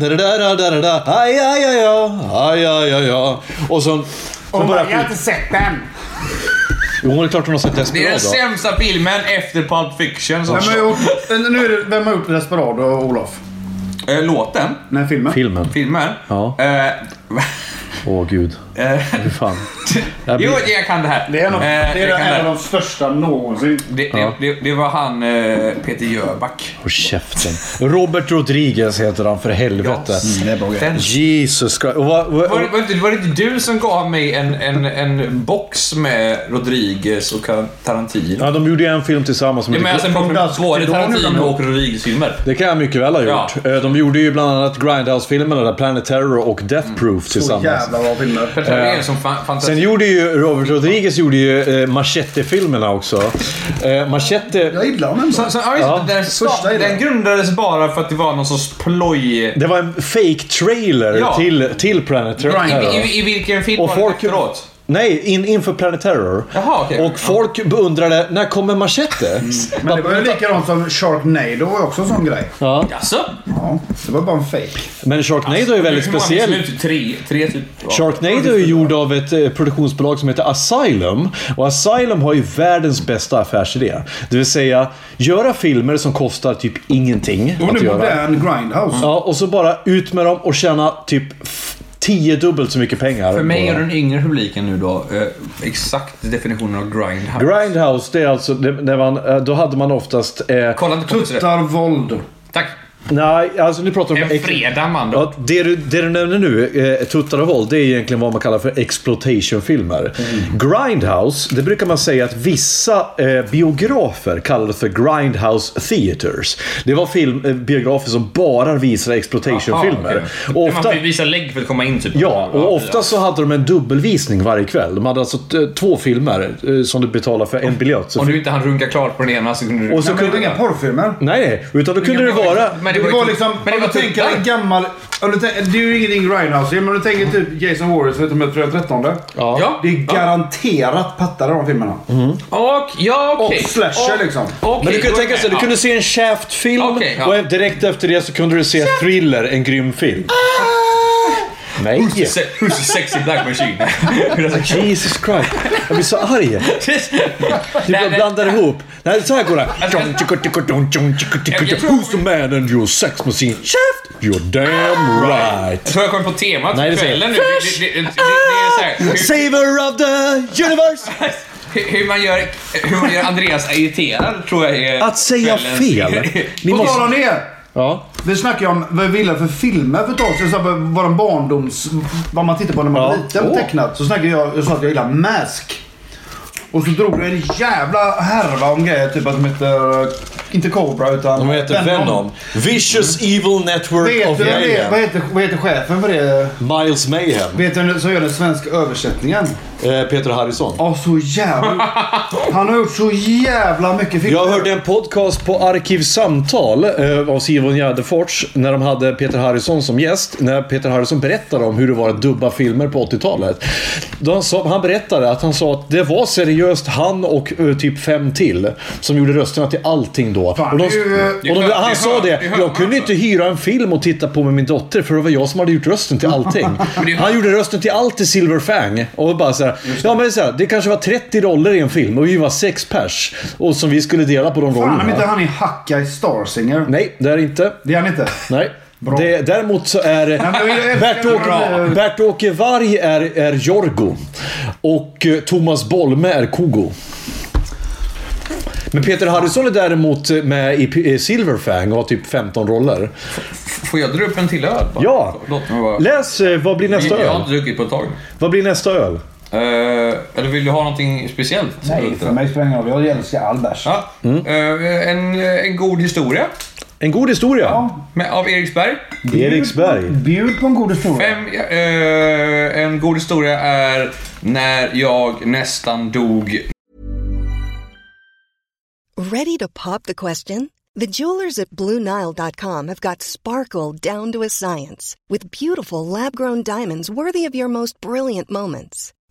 Aj, aj, aj, aj. Aj, aj, aj, aj. Och så... Och bara, jag har inte sett den. Jo, det är klart hon har sett
Det är den
Desperado.
sämsta filmen efter Pulp Fiction. Som
Vem har gjort, eh, nu är det, vem har gjort Desperado, Olof?
Eh, Låten,
Nej, filmen?
Filmen.
filmen.
Ja.
Eh,
Åh, gud.
eh,
Fy fan. Jag blir-
jo, jag kan det här.
Det är, nog,
Eh, jag
det är
kan det
en av
här.
de största någonsin.
Det, det, det, det var han eh, Peter Jöback.
På käften. Robert Rodriguez heter han för helvete.
Den,
Jesus Christ. Och vad, vad,
var, det- var, det, inte- var det inte du som gav mig en, en, en box med Rodriguez och Tarantino?
ja, de gjorde ju en film tillsammans. Som
Ja, men
heter-
alltså, var det Tarantino och Rodriguez-filmer?
det kan jag mycket väl ha gjort. Eh, De gjorde ju bland annat Grindhouse-filmerna där Planet Terror och Death Proof tillsammans.
Jävla bra filmer.
Peter Rodriguez som fan-
Eh, Sen
fantastisk.
gjorde ju Robert Rodriguez gjorde ju eh, Machete-filmerna också. Eh, machete,
Jag gillar honom ändå.
Så, så, ja, just,
Ja.
det. den, start,
Första idén.
den grundades bara för att det var någon sorts ploj. I,
det var en fake trailer
Ja.
till, till Planet Terror.
i, I vilken film
Och
var
folk-
det efteråt?
Nej, in, inför Planet Terror.
Jaha, okej.
Och folk undrade, när kommer Machete?
Men det var ju likadant som Sharknado var ju också en sån grej.
Ja.
Jaså?
Ja, det var bara en fake.
Men Sharknado är väldigt
Hur många
speciell.
beslut? Tre, tre typ.
Sharknado är gjord av ett eh, produktionsbolag som heter Asylum. Och Asylum har ju världens bästa affärsidé. Det vill säga, göra filmer som kostar typ ingenting
Och
att
nu
göra.
modern Grindhouse.
Ja, och så bara ut med dem och tjäna typ f- tiodubbelt så mycket pengar.
För mig
på-
och den yngre publiken nu då, eh, exakt definitionen av grindhouse.
Grindhouse, det är alltså det, när man, eh, då hade man oftast... Eh,
Kolla inte på det.
Tuttar våld.
Tack.
nej, alltså nu pratar vi om...
En fredag man då.
Ja, det, du, det du nämner nu, eh, Tuttar och våld, det är egentligen vad man kallar för exploitation-filmer.
Mm.
Grindhouse, det brukar man säga att vissa eh, biografer kallade för Grindhouse Theaters. Det var film, eh, biografer som bara visade exploitation-filmer. Och
Man
ofta-
får ju visa lägg för att komma in typ.
Ja, och ofta så hade de en dubbelvisning varje kväll. De hade alltså t- två filmer eh, som du betalade för en biljett. Så
Om du inte hann runka klart på den ena så kunde du...
och så
Men det var
kunde,
inga porrfilmer.
nej, utan då kunde det vara...
Men
Det var,
ju-
liksom,
Men det
om
var
du tänker
tuttar.
en gammal... Om du tänker, det är ju ingenting Grindhouse, men om du tänker typ Jason Warriors, vet du, med Fredag 13.
Ja.
Det är garanterat pattar i de filmerna.
Mm.
Och, ja okej.
Och slasher liksom.
Men du kunde
då-
tänka sig, du
ja.
kunde se en Shaft-film
Okej, ja.
och direkt efter det så kunde du se Thriller, en grym film.
Ah!
Nej!
Se- Who's a sexy black machine?
Jesus Christ. Jag blir så arg. Du
Nej, men-
blandar ihop. Nej, så här går det.
jag tror-
Who's the man and your sex machine? Shaft! You're damn right.
Jag tror jag kom på temat
Nej,
för
det säger-
kvällen nu. Det, det, det, det, det är så här, hur,
Saver of the universe!
hur- hur, man gör, hur man gör Andreas irriterad tror jag är...
Att säga fel. Ni
På tal om
måste...
det.
Ja.
Vi snackade ju om vad vi gillar för filmer för ett tag sedan. Så här, Vår barndoms... Vad man tittar på när man var
Ja.
liten och
Åh.
tecknat. Så snackade jag, jag sa att jag gillar Mask. Och så drog du en jävla härva om grejer. Typ att de heter... Inte Cobra utan...
De heter Venom. Vicious Evil Network
Vet
of
du vem det är? Vad
Mayhem.
heter, vad heter chefen för det?
Miles Mayhem.
Vet du vem som gör den svenska översättningen?
Eh, Peter Harrison.
Ja, så jävla... Han har gjort så jävla mycket filmer.
Jag hörde en podcast på Arkivsamtal eh, av Simon Gärdefors när de hade Peter Harrison som gäst. När Peter Harrison berättade om hur det var att dubba filmer på 80-talet. Då Han, sa, han berättade att han sa att det var seriöst han och eh, typ fem till som gjorde rösterna till allting då.
Fan,
och de,
det är ju-
och de,
det är
han
hö-
sa
det är
det.
hö- det är
Jag kunde
hö-
inte hyra en film och titta på med min dotter för det var jag som hade gjort rösten till allting.
det är-
Han gjorde rösten till allt i Silver Fang. Och bara så här, ja men så här, det kanske var 30 roller i en film och vi var sex pers. Och som vi skulle dela på de
Fan om
rollerna.
inte han är hacka i Starsinger.
Nej, det är det inte.
Det är han inte.
Nej.
Bra.
Det, däremot så är
men jag älskar
Bert-Åke
bra.
Bert Varg är, är Jorgo. Och eh, Thomas Bolme är Kogo. Men Peter Harrison är däremot eh, med i P- i Silver Fang och har typ 15 roller.
Får jag dra upp en till öl? bara?
Ja.
Låt mig bara...
Läs, eh, vad blir nästa
Jag har
öl?
inte druckit på ett tag.
Vad blir nästa öl?
Eh, eller vill du ha någonting speciellt?
Nej, för mig spelar det ingen roll. Jag älskar all bärs.
Ja.
Mm.
Eh, en, en god historia
En god historia.
med, av Eriksberg.
Eriksberg.
Bjud på en god historia.
Fem, eh, en god historia är när jag nästan dog
Ready to pop the question? The jewelers at BlueNile.com have got sparkle down to a science with beautiful lab grown diamonds worthy of your most brilliant moments.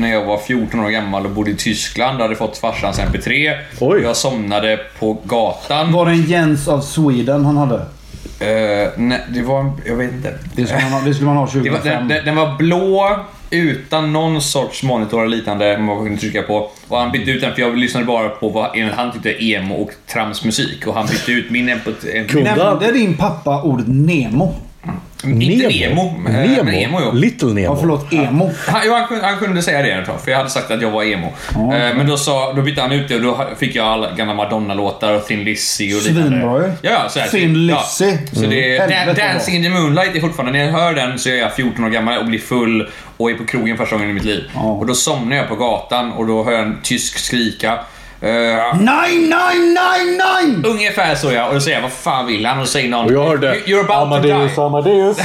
när jag var 14 år gammal och bodde i Tyskland och hade fått farsans MP3.
Oj.
Jag somnade på gatan.
Var det en Jens av Sweden han hade?
Eh, nej, det var... en- Jag vet inte. Eh,
Det skulle man ha, det skulle man ha
Det var, den,
2005.
den, den var blå utan någon sorts monitor eller liknande man kunde trycka på. Och han bytte ut den för jag lyssnade bara på vad enligt han tyckte var emo och tramsmusik. Och han bytte ut min MP3.
Cool.
Nämnde din pappa ordet Nemo?
Inte Nemo. eh,
Nemo.
Men emo jo.
Little
Ja,
Nemo.
förlåt. Emo.
Han, jo, han, kunde, han kunde säga det ett tag, för jag hade sagt att jag var emo. Eh, men då, sa, då bytte han ut det och då fick jag alla gamla Madonna-låtar och Thin Lizzy och
Svinbra ju.
Ja, ja, så här,
Thin
ja.
Lizzy. Mm.
Så det är,
Helvete
Dan,
bra.
Dancing in the Moonlight är fortfarande, när jag hör den så är jag 14 år gammal och blir full och är på krogen första gången i mitt liv. Och då somnar jag på gatan och då hör jag en tysk skrika.
Eh,
Nine, nine, nine, nine!
Ungefär så ja. Och då säger jag, vad fan vill han? Och så säger någon,
Och jag hörde
"You- You're about
Amadeus,
to
Amadeus.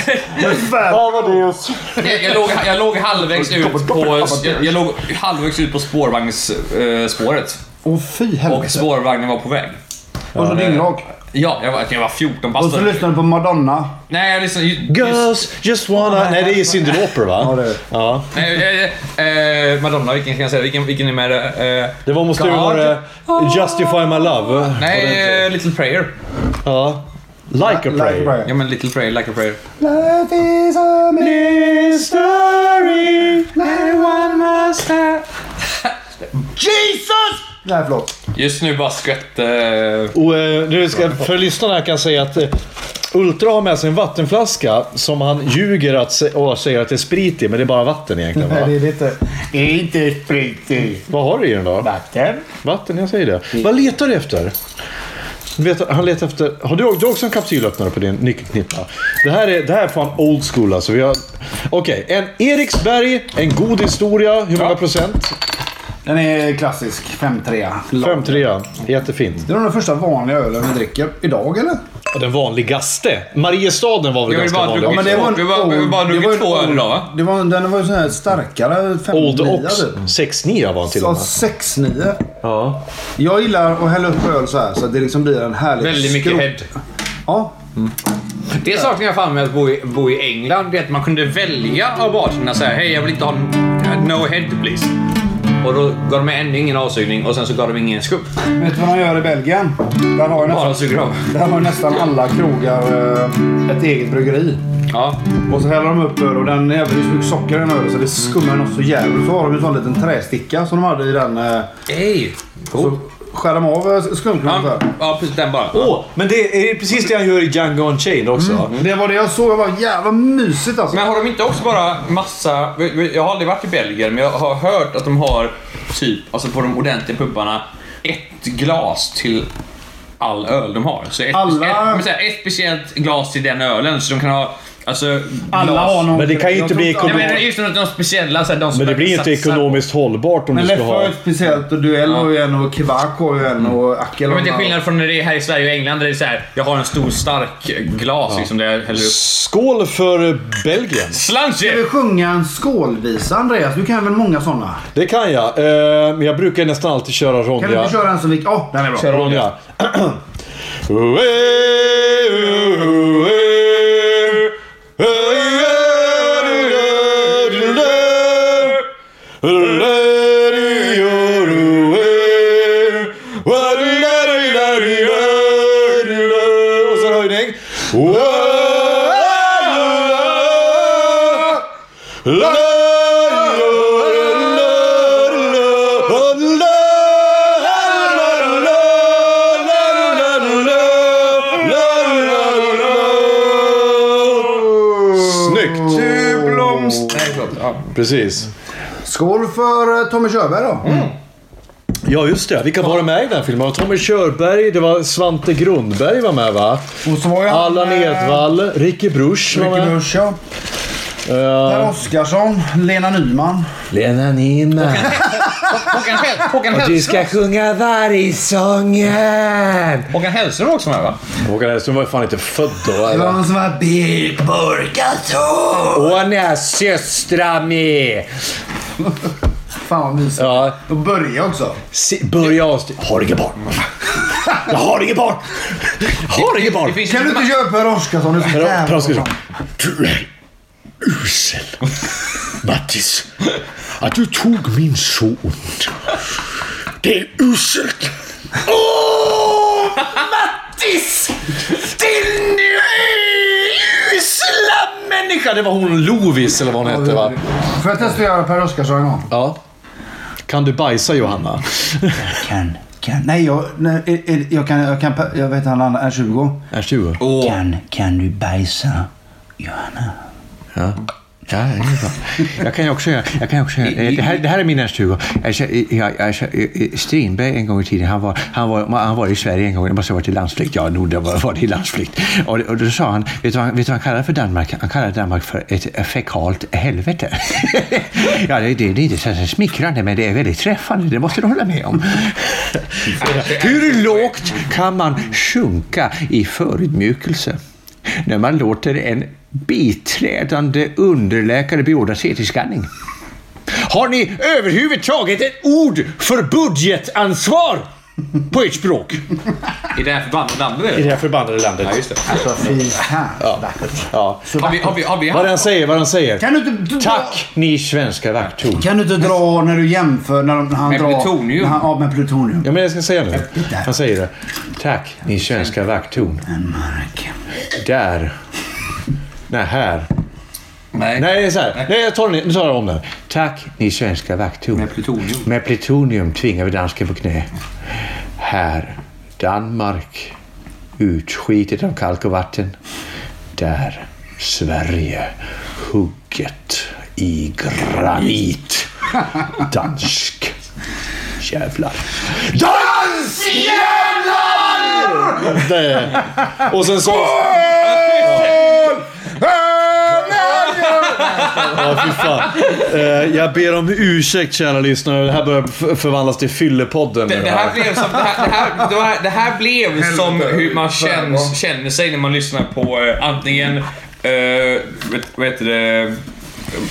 Amadeus.
die. Jag, jag, låg, jag låg halvvägs ut på, jag, jag låg halvvägs ut på spårvagnsspåret.
Åh fy
och
helvete.
spårvagnen var på väg.
Och så ringde jag.
Ja, jag var, jag var 14
Och så
bast.
lyssnade du på Madonna.
Nej, jag lyssnade ju...
Girls just wanna... Nej, det är Cyndi Lauper va?
Ja, det är det.
Ja.
Nej, eh, eh, Madonna, vilken kan jag säga? Vilken, vilken är med? Eh,
Det var, måste ju
God.
vara eh, Justify My Love. va? Var det inte?
Nej, eh, Little Prayer.
Ja. Like a prayer.
Ja, men Little Prayer, Like a Prayer.
Life is a mystery. Everyone must have... Jesus! Nej, förlåt.
Just nu bara skvätte... Eh,
Och, eh, nu ska, för lyssnarna här kan jag säga att eh, Ultra har med sig en vattenflaska som han ljuger att, se- och säger att det är sprit i, men det är bara vatten egentligen.
Nej,
Va?
det är inte...
Det är inte sprit i
Vad har du i den då?
vatten.
Vatten, jag säger det. Vad letar du efter? Du Vet, han letar efter... Har du, du har också en kapsylöppnare på din nyckelknippa? Det här är, det här är fan old school alltså. Vi har- Okej, en Eriksberg, en god historia. Hur många procent?
Den är klassisk. 5-3.
5-3. Jättefint.
Det är nog den första vanliga ölen vi dricker idag, eller?
Och Den vanligaste. Mariestaden var väl
Jag vill
ganska
bara
vanlig?
dricka-
också?
men det var en Vi bara- vi bara
old-
druckit
det var en
två öl
old-
idag, va?
Det var, den var ju sån här starkare. fem
Old
nia,
Ox.
typ.
6-9 var han till och
Ja,
med.
6-9.
Ja.
Jag gillar att hälla upp öl så här så att det liksom blir en härlig
väldigt mycket
skrot.
head.
Ja.
Det saknar jag fan med att bo i, bo i England. Det är att man kunde välja av barerna så här. Hej, jag vill inte ha n- no head please. Och då gav de ännu ingen avsugning och sen så gav de ingen skubb.
Vet du vad de gör i Belgien? Där har ju
Bara
nästan,
suger av.
där har ju nästan alla krogar eh, ett eget bryggeri.
Ja.
Och så häller de upp öl och den är väldigt mycket socker i den ölen så det skummar något så jävligt. Så har de en sån liten trästicka som de hade i den. eh,
Ej!
Så skär de av eh, skumkronan så
Ja,
här.
ja, precis den bara.
Åh, men det är precis det han gör i Django Unchained också.
Mm.
Det var det jag såg. Det var jävla mysigt alltså.
Men har de inte också bara massa... Jag har aldrig varit i Belgien, men jag har hört att de har typ, alltså på de ordentliga pubbarna, ett glas till all öl de har. Så ett,
Alla-
ett, men så här, ett speciellt glas till den ölen, så de kan ha... Alltså,
Alla
glas.
har någon...
Men det kan ju
jag
inte
tror
bli
Nej,
ekonomiskt-
men just något- de speciella, så här, de som
Men det blir inte
verkligen satsar
ekonomiskt hållbart om du
Men
ska
Leffe har ju
ha...
ett speciellt och Duell har ju en och Kivak har ju en och
Mm.
Akel
Ja,
har
men det är
en.
skillnad från när det är här i Sverige och England där det är så här, jag har en stor stark glas liksom, där jag häller upp.
Skål för Belgien!
Slanche!
Ska vi sjunga en skålvisa Andreas? Du kan väl många sådana?
Det kan jag. Eh, Men jag brukar nästan alltid köra
Kan
Ronja.
du inte köra en som vi... Åh, den är bra.
Kör Ronja. Och så en höjning. Snyggt! Precis.
Skål för eh, Tommy Körberg då.
Mm.
Ja, just det. Vilka var det med i den här filmen? Det var Tommy Körberg, det var Svante Grundberg var med va?
Och så var ju han,
Allan
eh,
Edwall, Ricky Bruch var
Micke
med.
Busch ja. Per Oscarsson, Lena Nyman.
Lena Nyman.
Håkan, Hell- Håkan, Hell-
sjunga vargsången.
Håkan Hellström var också med va?
Håkan Hellström var ju fan inte född då.
Det var
eller?
någon som var alltså. Bill Burkator.
Och han är systrar med.
Fan vad mysigt.
Ja,
Och Börje också.
se, börja avsnitt. Har inget barn. Jag har inget barn. Jag har inget barn.
Det finns
Kan du
inte
inte köra Per Oscarsson? Du är så
Per- Per
jävla
Oscarsson.
bra.
Du är usel. Mattis. Att du tog min son. Det är uselt. Åh, Mattis! Din usla människa! Det var hon Lovis, eller vad hon hette, va?
Får jag testa att göra Per Oscarsson en gång?
Ja. Kan du bajsa, Johanna?
Kan, kan. Nej, jag, nej, eh, eh, jag kan, jag kan, jag vet han andra, R20.
Är du?
Kan, kan du bajsa, Johanna?
Ja, det är bra. Jag kan ju också göra. Jag kan också göra. Eh, Det, här, det här är min ärstuga. Alltså, eh, jag, alltså, eh, eh, Strindberg en gång i tiden, han var, han var, han var i Sverige en gång. Det måste ha varit i landsflykt. Ja, nog det var, var det i landsflykt. Och, och då sa han, vet du, vad, han- vet du vad han kallade för Danmark? Han kallade Danmark för ett fekalt helvete. ja, det, det, det är inte så här smickrande, men det är väldigt träffande. Det måste du hålla med om. Hur lågt kan man sjunka i förödmjukelse? när man låter en biträdande underläkare beordra CT-skanning. Har ni överhuvudtaget ett ord för budgetansvar på ert språk?
I det här förbannade landet.
I det här förbannade landet.
Ja, just det.
Alltså fy fan så vackert.
Ja.
Så
Har vi, har vi, har vi
Vad
haft...
den säger, vad den säger.
Kan du inte dra,
Tack ni svenska vakttorn.
Kan du inte dra när du jämför när de- när han
Med
drar...
plutonium.
När han, ja, med plutonium.
Ja, men jag ska säga nu. Han säger det. Tack ni svenska vakttorn.
En mark.
Där. Nej, här.
Nej.
Nej, det är så här. Nej, jag tar, den- nu tar jag om den. Tack ni svenska vakttorn.
Med plutonium.
Med plutonium tvingar vi dansken på knä. Här, Danmark, utskitet av kalk och vatten. Där, Sverige, hugget i granit. Dansk. Jävlar. Dansk jävlar! Det. Och sen så... Ja, fy fan. Eh, jag ber om ursäkt kära lyssnare. Det här börjar f- förvandlas till Fyllepodden.
Det, det här blev som, det här, det här, det här, det här blev som hur man känns, känner sig när man lyssnar på eh, antingen, eh, vet, vad heter det,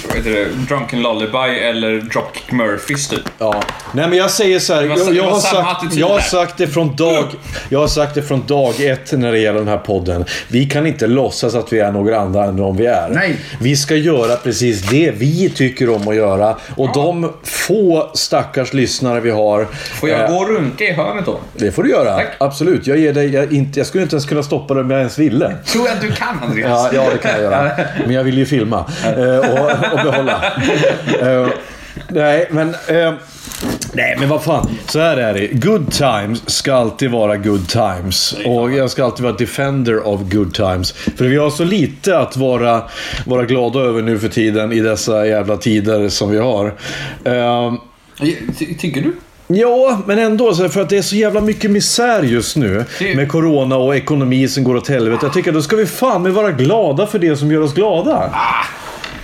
vad heter det, Drunken Lullaby eller Dropkick Murphys typ.
Ja. Nej men jag säger så här.
var-
Jag,
det
jag,
var
har,
samma
sagt,
attityd
jag, har
där.
sagt det från dag, jag har sagt det från dag ett när det gäller den här podden. Vi kan inte låtsas att vi är några andra än de vi är.
Nej.
Vi ska göra precis det vi tycker om att göra. Och de få stackars lyssnare vi har.
Får
eh,
jag gå och runka i hörnet då?
Det får du göra.
Tack.
Absolut. Jag, ger dig, jag, inte, jag skulle inte ens kunna stoppa dig om jag ens ville.
Tror jag att du kan Andreas.
Ja, ja, det kan jag göra. Men jag vill ju filma eh, och, och behålla. Eh, Nej, men... eh, Nej, men vad fan. Så här är det. Good times ska alltid vara good times. Och jag ska alltid vara defender of good times. För vi har så lite att vara, vara glada över nu för tiden i dessa jävla tider som vi har. Ehm,
Ty- Tycker du?
Ja, men ändå. så här, För att det är så jävla mycket misär just nu. Med corona och ekonomi som går åt helvete. Jag tycker då ska vi fan med vara glada för det som gör oss glada.
Ah.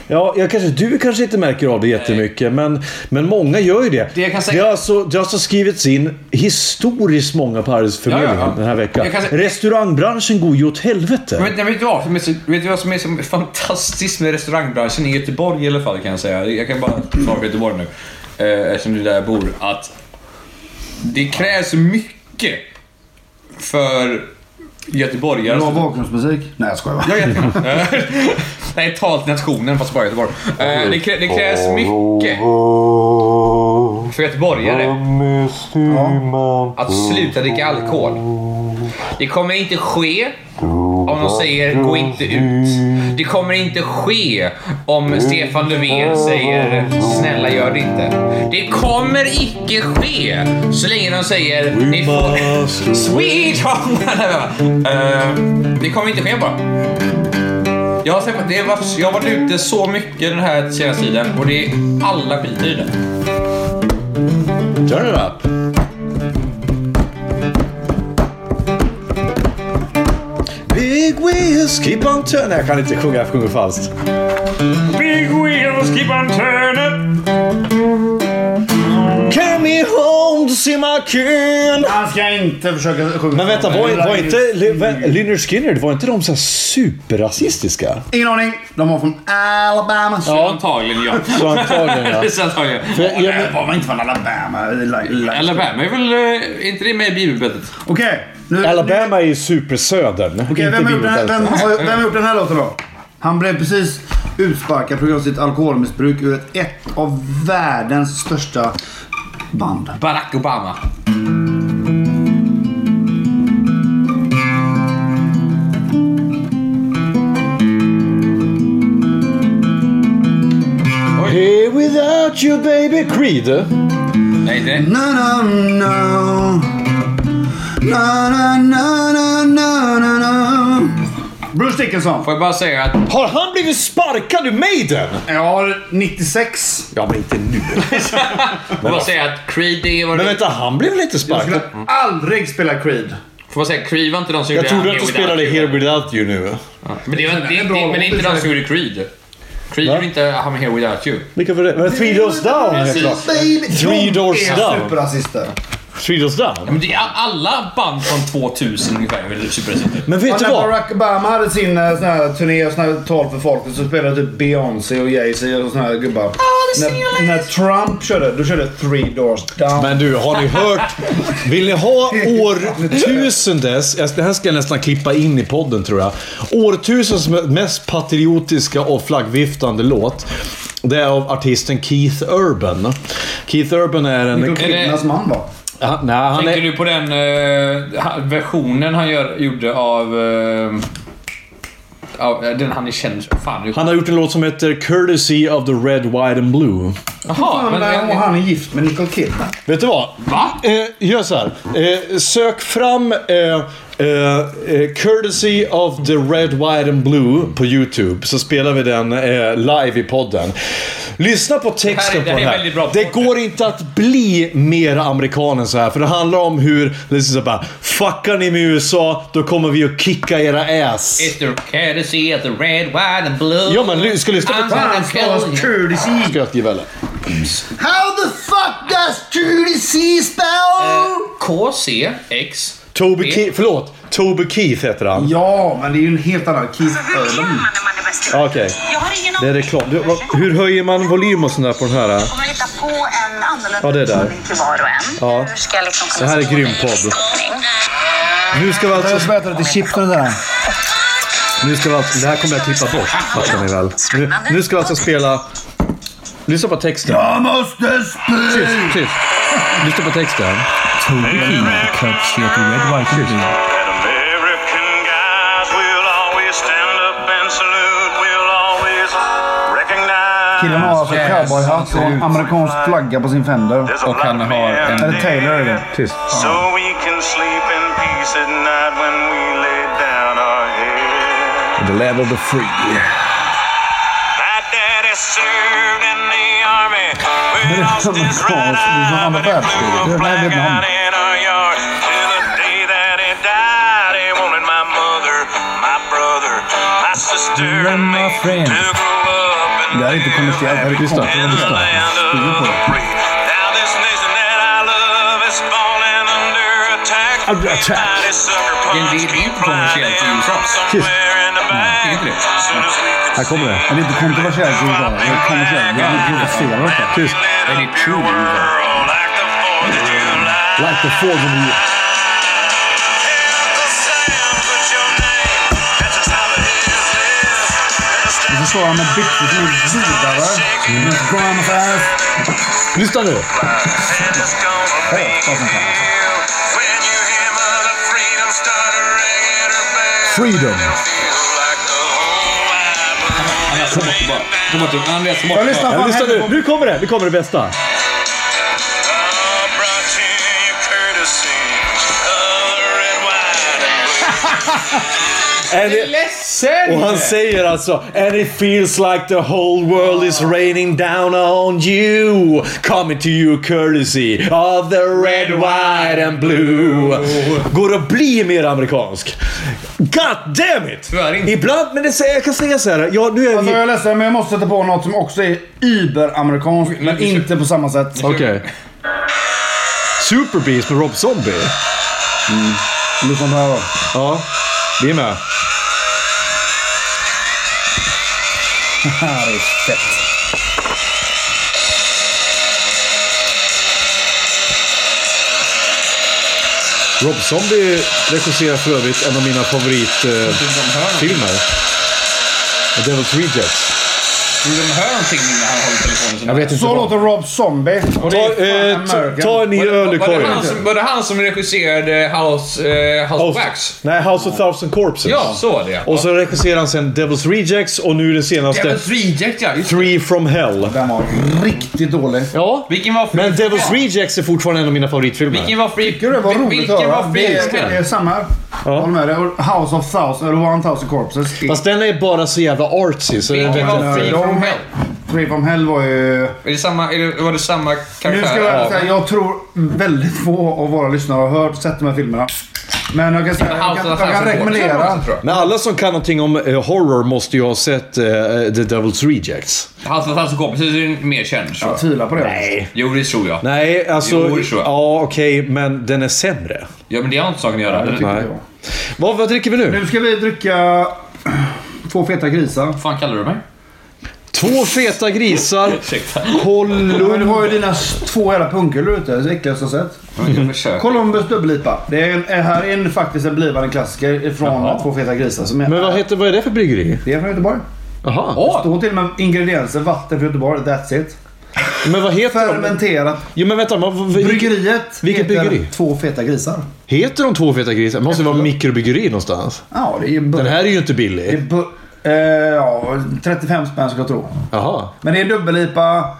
Ja, jag kanske, du kanske inte märker av det jättemycket, men, men många gör ju det.
Det jag kan säga-
det, har alltså, det har alltså skrivits in historiskt många på Arbetsförmedlingen
Ja, ja, ja.
den här veckan.
Jag kan säga-
Restaurangbranschen går ju åt helvete.
Men, nej, vet, du vad, som är så, vet du vad som är så fantastiskt med restaurangbranschen i Göteborg i alla fall kan jag säga. Jag kan bara svara på Göteborg nu. Eh, eftersom det är där jag bor. Att det krävs mycket för göteborgare.
Bra bakgrundsmusik. Nej jag skojar bara.
Ja, jättebra. Nej, tal till nationen fast bara Göteborg. Eh, det, krä, det krävs mycket för göteborgare
Mm.
att sluta dricka alkohol. Det kommer inte ske om de säger gå inte ut. Det kommer inte ske om Stefan Löfven säger snälla gör det inte. Det kommer icke ske så länge de säger ni får... Sweet home! Eh, det kommer inte ske bara. Jag har, träffat, det var, jag har varit ute så mycket den här senaste tiden och det är alla skiter i det.
Turn it up. Big wheels keep on turning. Jag kan inte sjunga, jag sjunger falskt.
Big wheels keep on turning.
Come me home to see my kin.
Han ska inte försöka sjunga.
Men vänta, var, var inte Ly- vä- Lynyrd Skynyrd, var inte de så här superrasistiska?
Ingen aning. De var från Alabama.
Ja. Antagligen ja.
Så antagligen ja.
Så antagligen.
För jag-
Nej, de var inte från Alabama. Eller- eller-
Alabama är väl eh, inte det med i bibelbältet?
Okej. nu-
Alabama är ju supersödern.
Okej,
inte alltså.
vem, har gjort den här- vem,
bilbältet.
har- vem har gjort den här låten då? Han blev precis utsparkad på grund av sitt alkoholmissbruk ur ett, ett av världens största band.
Barack Obama.
Here without you baby Creed.
Nej, inte det.
Na na na na na na na na na na Bruce Dickinson.
Får jag bara säga att...
Har han blivit sparkad ur Maiden?
Ja, 96.
Ja, men inte nu.
Får jag bara säga att Creed är...
Men vänta, han blev väl inte
Jag
sparkad?
skulle aldrig spela Creed.
Får jag säga, Creed var inte de som
Jag
gjorde...
trodde
Here
att du spelade Here
Without You.
Without You nu.
Men det, var, det, det, men det är inte de som gjorde Creed. Creed gjorde inte I'm here without you.
Vilka var det? Men Three Doors Down helt klart. Three Doors
är
Down.
superrasister.
Three Doors Down.
Men det är alla band från 2000 ungefär är väl superresistenta.
Men vet
Och
du
när
vad?
Barack Obama hade sin eh, sån här turné och sån här tal för folket så spelade typ Beyoncé och Jay-Z och såna här gubbar. när, när Trump körde, då körde Three Doors Down.
Men du, har ni hört? Vill ni ha årtusendets, jag- det här ska jag nästan klippa in i podden tror jag. Årtusendets mest patriotiska och flaggviftande låt. Det är av artisten Keith Urban. Keith Urban är en...
Michael Kidnas man va?
Han, nej, han
Tänker
är,
du på den eh, ha- versionen han gör, gjorde av... eh, av eh, den han är känd för? Fan, nu-
han har gjort en låt som heter “Courtesy of the Red, White and Blue”.
Jaha,
Han,
men...
där, och
eh,
han är gift med Nicole Kidman.
Vet du vad?
Va?
Eh, gör så här. Eh, sök fram eh, eh, eh, “Courtesy of the Red, White and Blue” på YouTube, så spelar vi den eh, live i podden. Lyssna på texten
Det här
på
är- det här är
den här.
väldigt bra
det
podcast.
går inte att bli mer amerikan än så här, för det handlar om hur... Det är så bara, Fuckar ni med USA, då kommer vi att kicka era ass.
It's the courtesy of the red, white and blue.
Ja, men ly- ska lyssna på...
I'm gonna
Han stavas
kill you.
Courtesy.
Ska jag skriva eller?
How the fuck does Courtesy spell?
KC, X.
Toby Keith, förlåt. Toby Keith heter han.
Ja, men det är ju en helt annan Keith Urban.
Okej. Det är reklam. Du, vad- hur höjer man volym och sånt där på den här?
Om man hittar på en annorlunda
Ja, det är där.
utmaning till var och en.
Ja.
Hur ska jag liksom kunna
Det här är
stå
grym
i
podd.
riktning?
Nu ska vi alltså...
Jag äta lite chips och det där.
Nu ska vi alltså det här kommer jag klippa bort, fattar ni väl? Nu, nu ska vi alltså spela... Lyssna på texten.
Jag måste spy!
Tyst, tyst. Lyssna på texten.
That American guys will always stand up and salute. We'll always recognize
Killen
Ah,
har alltså cowboyhatt och en amerikansk flagga på sin Fender.
there's a black
han har
man
en-
Eller Taylor är det.
Tyst.
So we can sleep in peace at night when we lay down our head.
The land of the free.
My daddy served in the army. We lost his right eye, but he flew a flag out in our yard. To the day that he died, he wanted my mother, my brother, my sister and me to grow up and
Det här är inte kommersiellt, det här är
live
konstigt.
in the land of the free. Now this nation that I love is falling under attack.
Under attack.
Mighty sucker
Det- det-
punch
det är inte kommersiellt i
flying
USA.
from somewhere in the back.
inte det.
Soon as we could
Här kommer det.
see
Men det är inte kontroversiellt i USA. Det är kommersiellt. Jag blir provocerad. av det.
Tyst.
Any true
Like the fall of the...
Du förstår, han är byxor som är vidare. Med grams ass.
Lyssna nu. Freedom.
Andreas, ta bort det bara. Ta bort det. Andreas, ta bort
Jag
det
lyssnar
bara.
på
Ja,
han
lyssna nu.
här.
Nu kommer det. Nu kommer det bästa. Är det...
Ledsen!
Och han säger alltså And it feels like the whole world is raining down on you Coming to you courtesy of the red, white and blue Går att bli mer amerikansk? God damn it!
Tyvärr inte.
Ibland, men det, säger- jag kan säga så här. Ja, nu är
Alltså, jag
vi...
är ledsen, men jag måste sätta på något som också är überamerikanskt, men inte på samma sätt.
Okej. Superbeast med Rob Zombie.
Lyssna på det här då.
Ja, vi är med.
Det här är fett.
Rob Zombie regisserar för övrigt en av mina favoritfilmer. The Devil's Rejects.
Vill de höra någonting när han håller telefonen så
Jag vet inte
Typ Så
vad-
låter Rob Zombie. Och det
Ta,
är
eh,
fan
ta,
American.
ta en ny öl ur
Var det,
korgen.
han som, var det han som regisserade House, eh, House of Wax?
Nej, House of Thousand Corpses.
Ja, så var det.
Och så regisserar han sen Devil's Rejects och nu den senaste
Devil's Reject ja. Just det.
Three from Hell.
Den var riktigt dålig.
Ja.
Vilken var
Men
free-
Devil's Rejects är fortfarande en av mina favoritfilmer.
Vilken var free...
Gud, det var roligt
Vilken
att höra.
var free...
Det är, det är samma. Jag håller med dig. Och House of Thousand, eller One Thousand Corpses.
Fast den är bara så jävla artsy så det
Ja,
vet
men,
jag
eh,
inte.
de- Free from Hell var ju...
Är det samma, är det, var det samma karaktär?
Nu ska jag
av-
ärligt säga, jag tror väldigt få av våra lyssnare har hört, sett de här filmerna. Men jag kan säga, jag kan, jag kan rekommendera.
Men alla som kan någonting om eh, horror måste ju ha sett eh, The Devil's Rejects.
Hans och Hans och kompis är ju mer känd. tror jag.
Jag tvivlar på det. Nej.
Jo, det tror jag.
Nej, alltså...
Jo, det tror jag.
Ja, okej, men den är sämre.
Ja, men det har inte saken att göra. Vad
Nej. Vad, vad dricker vi nu?
Nu ska vi dricka två feta grisar.
fan kallar du mig?
Två feta grisar.
Ursäkta.
Men du
Kollum.
har ju dina s- två jävla punkulor ute. Det är äckligaste jag sett.
Jag försöker.
Columbus dubbellipa. Det är en, det här är en, faktiskt en blivande klassiker från Två feta grisar. Som är,
Men vad, heter, vad är det för bryggeri?
Det är från Göteborg.
Jaha.
Står till och med ingredienser. Vatten från Göteborg. That's it.
Men vad heter de?
Fermenterat.
Jo, men vänta. Vad, vad,
Bryggeriet
vilket
heter
bryggeri?
Två feta grisar.
Heter de två feta grisar? Det måste vara mikrobryggeri någonstans.
Ja, det är ju...
Den här är ju inte
Det är
billig.
bu- eh, ja, 35 spänn ska jag tro.
Jaha.
Men det är dubbel-IPA.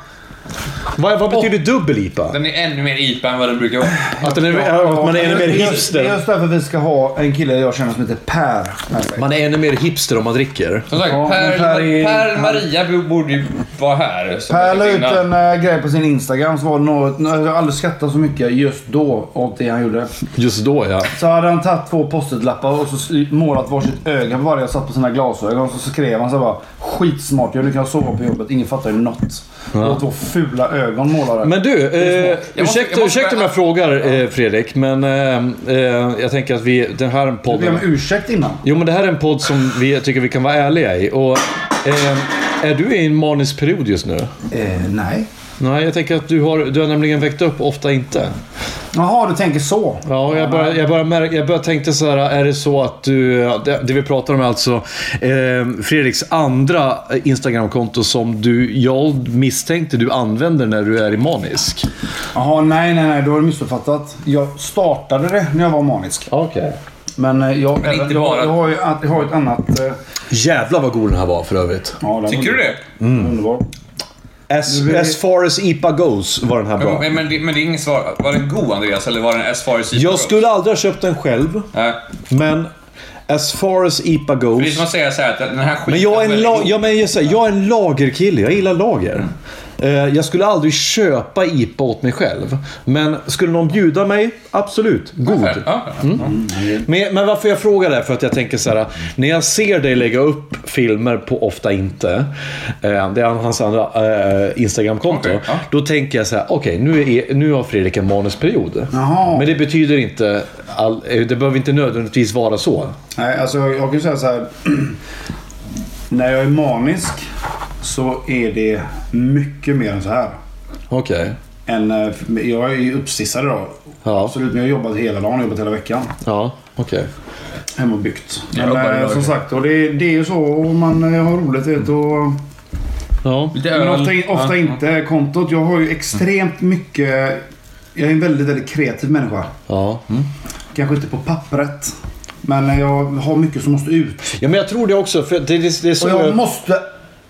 Vad, vad betyder dubbel-IPA?
Den är ännu mer IPA än vad den brukar vara.
Att, den är, att man är ännu mer
Det är- Det är
hipster?
just därför vi ska ha en kille jag känner som heter Per. med sig.
Man är ännu mer hipster om man dricker.
Som sagt,
Ja,
per,
men Per är-
per Maria borde ju vara här. som
Per
jag
la
tyckte
ut
innan.
en eh, grej på sin Instagram som var något... Jag har aldrig skrattat så mycket just då åt det han gjorde.
Just då ja.
Så hade han tagit två post-it-lappar och så s- målat varsitt öga på varje och satt på sina glasögon. Så skrev han så här bara Skitsmart, jag nu kan jag sova på jobbet. Ingen fattar ju något. Och två fula ögon målade.
Men du, eh,
Jag måste-
ursäkta,
jag måste-
ursäkta om jag frågar eh, Fredrik, men eh, eh, jag tänker att vi, den här
Jag ber om
podden...
ursäkt innan.
Jo men det här är en podd som vi tycker vi kan vara ärliga i. Och, eh, är du i en manisk period just nu?
Eh, nej.
Nej, jag tänker att du har, du har nämligen väckt upp ofta inte.
Jaha, du tänker så.
Ja, jag bara, jag bara, mär- jag bara tänkte så här, är det så att du... Det, det vi pratar om är alltså eh, Fredriks andra eh, Instagramkonto som du, jag misstänkte du använder när du är i manisk.
Jaha, nej, nej, nej. Du har du missuppfattat. Jag startade det när jag var manisk.
Okej.
Men eh, jag,
Men inte
jag,
bara-
jag, har ju, jag har ju ett annat... eh,
Jävlar vad god den här var för övrigt.
Ja, den
Tycker du det?
Underbar.
As, as far as IPA goes var den här bra.
Men, men, det, men det är inget svar. Var den god Andreas eller var den as far as
Jag skulle aldrig ha köpt den själv,
Nej.
men as far as IPA
Det är
goes...
som att säga så här att den här skiten
Men jag är en,
väldigt
la-
god.
ja, men jag, säger, jag är en lagerkille. Jag gillar lager. Eh, Jag skulle aldrig köpa IPA åt mig själv. Men skulle någon bjuda mig, absolut. God.
Ja.
Men, men varför jag frågar det är för att jag tänker så här. När jag ser dig lägga upp filmer på Ofta Inte. eh, Det är hans andra eh, Instagramkonto.
Okej, ja.
Då tänker jag så här. Okej, nu, är- nu har Fredrik en manusperiod.
Jaha.
Men det betyder inte... All, eh, det behöver inte nödvändigtvis vara så.
Nej, alltså jag, jag kan ju säga så här. när jag är manisk så är det mycket mer än så här.
Okej.
Än, eh, jag är ju uppsissad idag.
Ja.
Absolut, men jag har jobbat hela dagen, jag har jobbat hela veckan.
Ja, okej.
Hemma och byggt.
Jag
Men,
jobbar
eh,
idag.
som sagt, och det, det är ju så. Och man eh, har roligt vet, du, och
Ja.
Lite
Men
öl.
ofta, ofta inte kontot. Jag har ju extremt mycket... Jag är en väldigt, väldigt kreativ människa.
Ja. Mm.
Kanske inte på pappret. Men jag har mycket som måste ut.
Ja, men jag tror det också. För det, det, det är så
Och jag
jag,
måste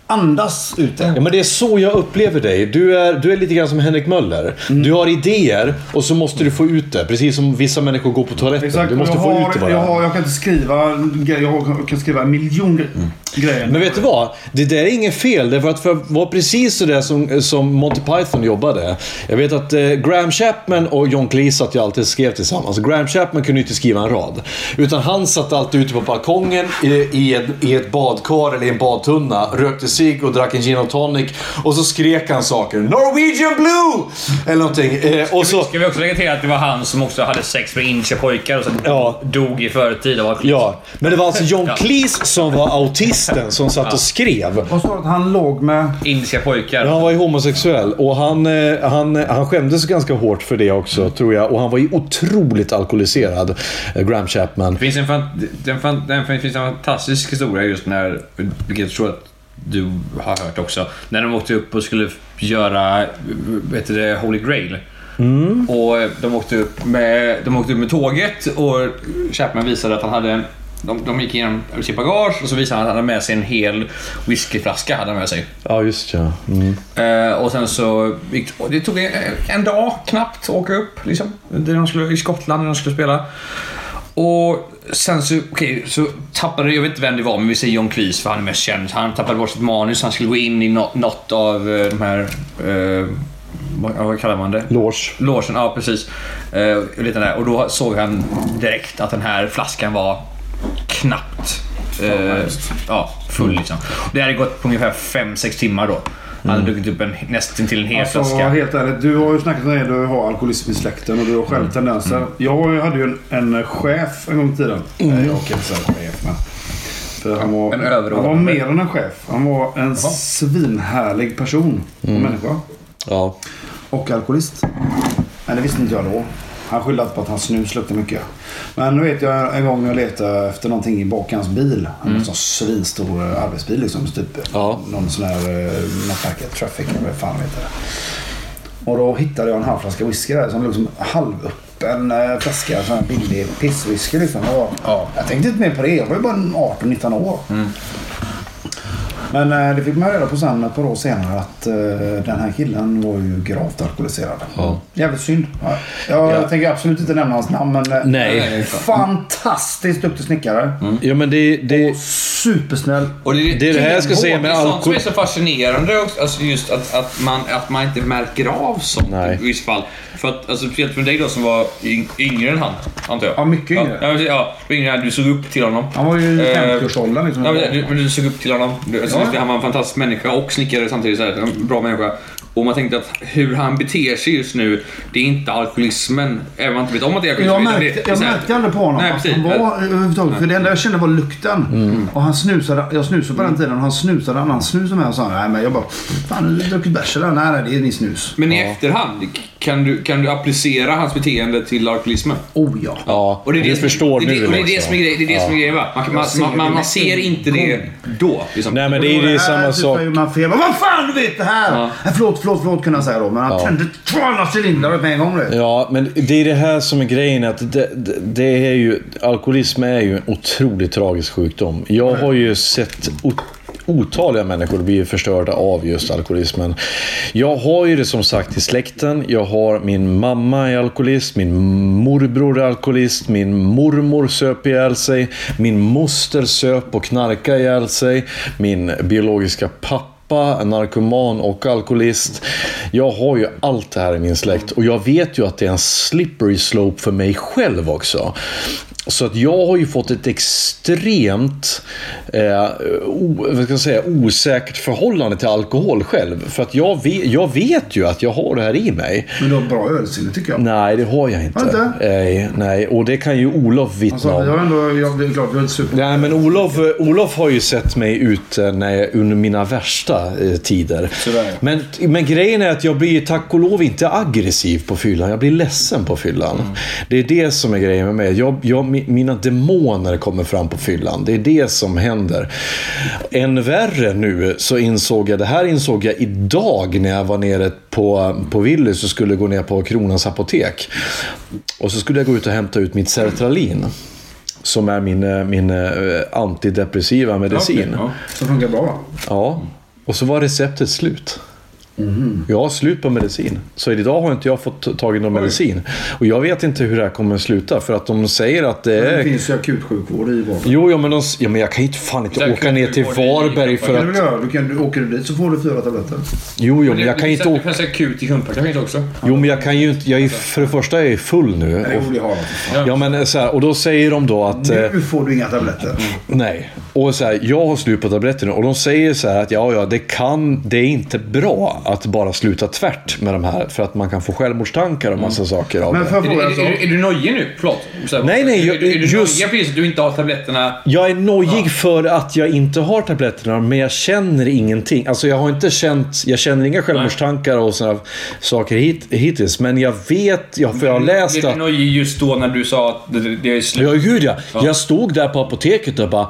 andas ut det.
ja, men det är så jag upplever dig. Du är, du är lite grann som Henrik Möller.
Mm.
Du har idéer och så måste du få ut det. Precis som vissa människor går på toaletten.
Exakt.
du måste
jag,
få
har,
ut det bara.
jag, har, jag kan inte skriva grejer. Jag har- kan skriva en miljon gre-
Mm.
grejer.
Men vet du vad? Det där är inget fel. Det var, att för, var precis så där som, som Monty Python jobbade. Jag vet att eh, Graham Chapman och John Cleese att jag alltid skrev tillsammans. Graham Chapman kunde ju inte skriva en rad. Utan han satt alltid ute på balkongen i, i, ett, i ett badkar eller i en badtunna, rökte cigg och drack en gin och tonic. Och så skrek han saker. “Norwegian Blue!” Eller någonting. Eh, och så...
Ska vi också lägga till att det var han som också hade sex med inche pojkar och sen
Ja.
dog i förtid av alkoholism?
Ja, men det var alltså John Cleese som var autisten som satt och skrev.
Vad sa du att han låg med?
Indiska pojkar.
Ja, han var ju homosexuell och han, eh, han, han skämdes ganska hårt för det också, tror jag. Och han var ju otroligt alkoholiserad, eh, Graham Chapman.
Det finns en, fan, den fan, den fan, det finns en fantastisk historia just när, vilket jag tror att du har hört också, när de åkte upp och skulle göra vet du det, Holy Grail. Och eh, de åkte, upp med, de åkte upp med tåget och Chapman visade att han hade en de, de gick igenom sitt bagage och så visade han att han hade med sig en hel whiskyflaska. Hade han med sig.
Ja, just ja. Mm.
Eh, och sen så gick, och det tog en, en dag knappt att åka upp. Liksom, där de skulle, I Skottland när de skulle spela. Och sen så, okay, så tappade, jag vet inte vem det var, men vi säger John Kreese för han är mest känd. Han tappade bort sitt manus, han skulle gå in i något, något av eh, de här... Eh, vad, vad kallar man det?
Lås.
Låsen, ja precis. Eh, lite där. Och då såg han direkt att den här flaskan var knappt eh, ja, full. Liksom. Det hade gått på ungefär 5-6 timmar då. Han hade
Mm.
druckit upp en, nästan till en hel
Alltså,
flaska.
helt ärligt, du har ju snackat om det, du har alkoholism i släkten och du har
Mm.
själv tendenser. Jag hade ju en, en chef en gång i tiden.
Mm.
Nej, jag kan inte säga chef, men. För han var,
En överordnad.
han var mer än en chef. Han var en svinhärlig person.
Mm.
Människa.
Ja.
Och alkoholist. Men det visste inte jag då. Han skyllde alltid på att hans snus luktade mycket. Men nu vet jag en gång jag letade efter någonting i bak i hans bil.
Mm.
Han hade en sån svinstor eh, arbetsbil liksom. så Typ någon sån här eh, Nutcracker Traffic eller vad fan heter det. Och då hittade jag en halv flaska whisky där som låg som halvöppen eh, flaska. Sån här billig pisswhisky liksom. Och Jag tänkte inte mer på det. Jag var ju bara 18-19 år.
Mm.
Men eh, det fick man reda på sen ett par år senare att eh, den här killen var ju gravt alkoholiserad. Jävligt synd. Ja. Jag
Ja.
tänker absolut inte nämna hans namn men... eh,
Nej.
Fantastiskt duktig snickare.
Ja, men det... det...
Supersnäll.
Mm. Och
Det är det här jag ska säga med
Det är sånt som
alkohol-
är så fascinerande också. Alltså just att, att, man, att man inte märker av sånt
Nej.
i vissa fall. För att, alltså, speciellt för dig då som var yng- yngre än han, antar jag.
Ja, mycket yngre.
Ja, men, ja, du var yngre än han. Du såg upp till honom.
Han var ju i
Eh,
50-årsåldern liksom.
Ja, men, du, men du såg upp till honom. Du, alltså,
Ja.
just det, Han var en fantastisk människa och snickare samtidigt. Så här, en bra människa. Och man tänkte att hur han beter sig just nu, det är inte alkoholismen. Även om man inte vet om att det är
Jag
alkoholismen. utan det-
märkte,
det är
jag
så här-
märkte aldrig på honom
Nej,
att
precis. Mm.
han var överhuvudtaget. För det enda jag kände var lukten. Och han snusade. Jag snusade på den tiden. Han snusade annan snus med och sa nej men jag bara Fan har du druckit bärs eller? Nej nej det är din snus.
Men i efterhand, kan du, kan du applicera hans beteende till alkoholismen?
Oh ja.
Ja,
Och det är det,
vi
som-
förstår
det, är
nu.
det, och det är det
liksom.
som är grejen. Det är det som är grejen va? Man, man, man, man, man ser inte det då. Liksom.
Nej, men det är det är samma sak.
Då man fel. Vad fan du vet det här!
Ja.
Nej, Förlåt, förlåt, förlåt kunde han säga då. Men han
Ja.
tände 200 cylindrar med en gång. Du. vet.
Ja, men det är det här som är grejen. Att det, det, det är ju, alkoholism är ju en otroligt tragisk sjukdom. Jag har ju sett o- otaliga människor bli förstörda av just alkoholismen. Jag har ju det som sagt i släkten. Jag har min mamma är alkoholist, min morbror är alkoholist, min mormor söp ihjäl sig, min moster söp och knarkade ihjäl sig, min biologiska pappa pappa, en narkoman och alkoholist. Jag har ju allt det här i min släkt och jag vet ju att det är en slippery slope för mig själv också. Så att jag har ju fått ett extremt eh, o, vad ska jag säga, osäkert förhållande till alkohol själv. För att jag vet, jag vet ju att jag har det här i mig.
Men du har bra ölsinne tycker jag.
Nej, det har jag inte.
Har du inte?
Nej, nej, och det kan ju Olof vittna
Alltså,
om.
jag har ändå, jag, det är klart, jag är inte super.
Nej, men Olof, eh, Olof har ju sett mig ute när jag, under mina värsta eh, tider. Men, men grejen är att jag blir tack och lov inte aggressiv på fyllan. Jag blir ledsen på fyllan. Det är det som är grejen med mig. Jag, jag, mi- mina demoner kommer fram på fyllan. Det är det som händer. Än värre nu så insåg jag, det här insåg jag idag när jag var nere på, på Willys och skulle gå ner på Kronans apotek. Och så skulle jag gå ut och hämta ut mitt sertralin som är min, eh, min eh, antidepressiva medicin.
Ja, Som funkar bra va?
Ja. Och så var receptet slut. Jag har slut på medicin. Så idag har inte jag fått tagit någon medicin. Och jag vet inte hur det här kommer att sluta. För att de säger att det
Det
är...
finns ju akutsjukvård i Varberg.
Jo, ja, men, de... ja, men jag kan inte fan inte åka ner till Varberg för
Kan du,
att...
väl göra? du, kan, du åker du dit så får du fyra tabletter.
Jo, jo, men jag kan inte
Det
åka...
finns akut i Kungsbacka finns också.
Jo, men jag kan ju inte... Jag är... För det första är jag ju full nu.
Jo, det
Och...
har de.
Ja, men eh, så här, och då säger de då att... eh,
Nu får du inga tabletter.
Nej. Och så här, jag har slut på tabletterna och de säger så här att ja, ja, det kan, det är inte bra att bara sluta tvärt med de här för att man kan få självmordstankar och massa saker av
Men
det.
får jag
Är,
fråga en
är,
sak?
är, är du nojig nu? Förlåt. Så här,
Nej, nej,
Är,
jag-
är, du- är du
just-
nojig för just att du inte har tabletterna?
Jag är nojig för att jag inte har tabletterna, men jag känner ingenting. Alltså jag har inte känt, jag känner inga självmordstankar och sådana saker hit, hittills. Men jag vet, jag, för jag har läst
Är
att...
du nojig just då när du sa att det, det är slut?
Ja, gud ja. Jag stod där på apoteket och bara,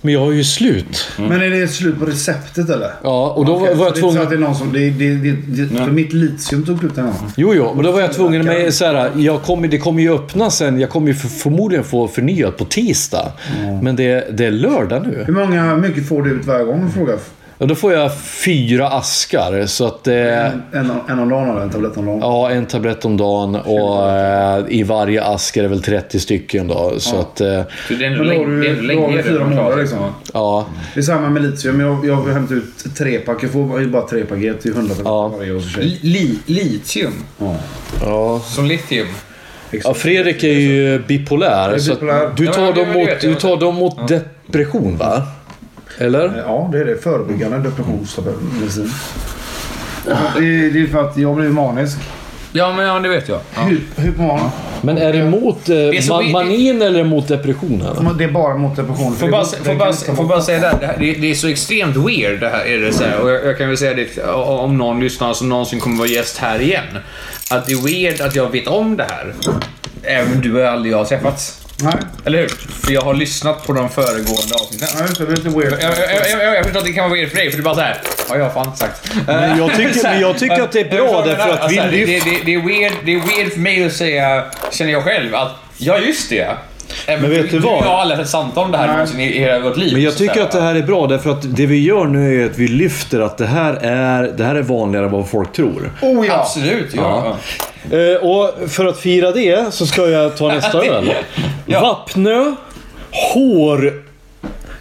men jag har ju slut.
Men är det slut på receptet eller?
Ja, och då
Okej,
var jag
så det är inte så
tvungen...
att det är någon som... Det, det, det, det, för mitt litium tog slut en gång.
Jo, jo, men då var jag tvungen med så här, jag kommer, Det kommer ju öppna sen. Jag kommer ju för, förmodligen få förnyat på tisdag. Men det, det är lördag nu.
Hur många mycket får du ut varje gång? Frågar
Ja, då får jag fyra askar. Så att, eh,
en, en, en om dagen eller en tablett om dagen?
Ja, en tablett om dagen och eh, i varje ask är det väl 30 stycken. Då, så
Ja. Mm,
att, eh,
Så det är ändå
Men då har
länge-
du
det är ändå
ju då har
länge
du fyra
redan klart.
månader liksom.
ja.
Det är samma med litium. Jag, jag hämtar ut tre pack. Jag får ju bara tre paket till 100 ja. varje år.
Li, litium.
Ja.
Som litium.
Ja, Fredrik är ju bipolär.
Jag är
så att
bipolär.
Du
Ja,
tar
men det
dem
vet
mot,
jag.
du tar dem mot depression, va? Eller?
Ja, det är det. Förebyggande depressionsmedicin. Det är det är för att jag blev manisk.
Ja, men ja, det vet jag. Ja.
Hypoman.
Men är det mot eh,
är så-
ma- manin eller mot depressionen?
Det är bara mot depression.
Får bara, får bara, får bara säga det, här, det, här, det, det är så extremt weird det här. Är det så här. Och jag, jag kan väl säga det om någon lyssnar som någonsin kommer vara gäst här igen. Att det är weird att jag vet om det här. Även du och aldrig jag har träffats.
Nej,
Eller hur? För jag har lyssnat på de föregående avsnitten.
nej, just det. Det är lite weird.
Jag, jag, jag, jag, jag förstår att det kan vara weird för dig, för du bara såhär... Ja, jag har fan inte sagt.
Men jag tycker- men jag tycker att det är bra,
Jag förstår vad du
därför
menar.
att vi
Alltså,
lyft-
Det, det, det, är weird, det är weird för mig att säga, känner jag själv, att ja, just det. Även
Men vet
för-
du vad?
och Jag har aldrig haft ett samtal om det här någonsin i i hela vårt liv.
Men jag
så
tycker
säga.
att det här är bra därför att det vi gör nu är att vi lyfter att det här är, det här är vanligare än vad folk tror.
Oh ja!
Absolut, ja.
Eh, och för att fira det så ska jag ta nästa öl. Vapnö. Hår.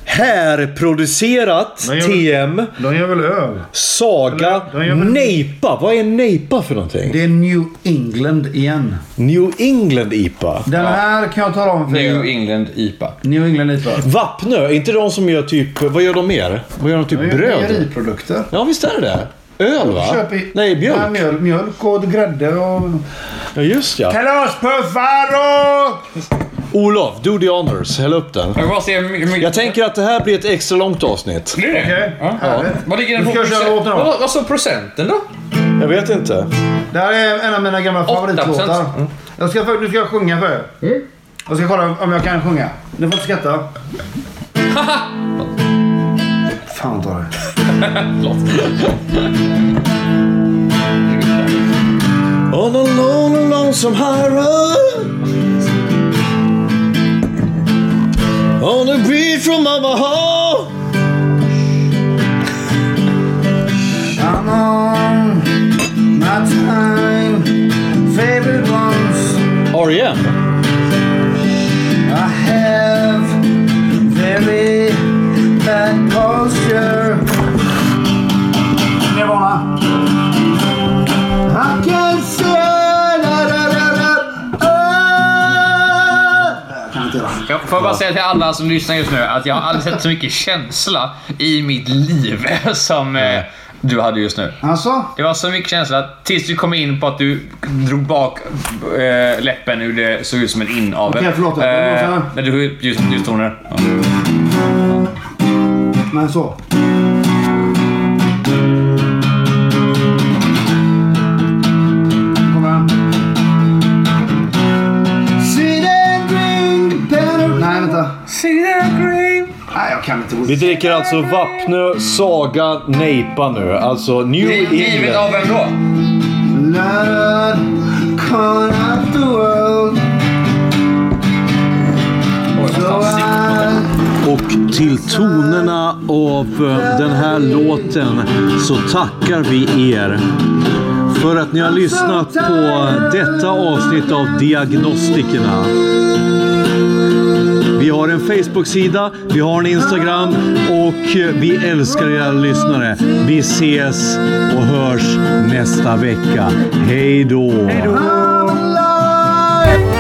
Härproducerat.
Men jag-
TM.
De gör väl öl?
Saga.
De gör väl-
Nejpa. Vad är nejpa för någonting?
Det är New England igen.
New England IPA.
Den här kan jag tala om för
New
er.
England IPA.
New England IPA.
Vapnö. Är inte de som gör typ... Vad gör de mer? Vad gör de? Typ bröd?
Mejeriprodukter.
Ja, visst är det det? Öl va?
Köp i-
Nej,
Ja,
mjölk.
mjöl, mjölk och grädde och...
Ja, just ja.
Kalaspuffar och...
Olof, do the honors. Häll upp den.
Jag vill bara se hur mycket...
Jag tänker att det här blir ett extra långt avsnitt.
Blir det?
Okej,
Ja.
härligt.
Vad ligger den på?
Nu ska jag köra
procent-
låten då.
Vad, vad sa procenten då?
Jag vet inte.
Det här är en av mina gamla
8%.
favoritlåtar.
Mm.
Jag ska, för- nu ska jag sjunga för er. Jag ska kolla om jag kan sjunga. Ni får inte skratta. Fan ta det.
On a long and lonesome high road On a beat from Omaha
I'm on my time favorite ones
E R.E.M.
I have very bad posture. Nirvana. I can say da, da, da, da, ah. Jag kan inte göra.
Jag får bara säga till alla som lyssnar just nu att jag har aldrig sett så mycket känsla i mitt liv som eh, du hade just nu.
Alltså?
Det var så mycket känsla tills du kom in på att du drog bak eh, läppen ur det såg ut som en inavel.
Okej, förlåt. Jag
Eh,
blåser.
när du höll upp ljus- ljustoner. Ja.
Men så. Kom igen. See that green banner- Nej, vänta. Nej, jag kan inte.
Vi dricker alltså Vapnö Saga Nejpa nu. Alltså New
Givet
England.
av vem då?
Lord, call out the world. So I
Och till tonerna av eh, den här låten så tackar vi er för att ni har lyssnat på detta avsnitt av Diagnostikerna. Vi har en Facebook-sida, vi har en Instagram och eh, vi älskar era lyssnare. Vi ses och hörs nästa vecka. Hej då!
I'm alive.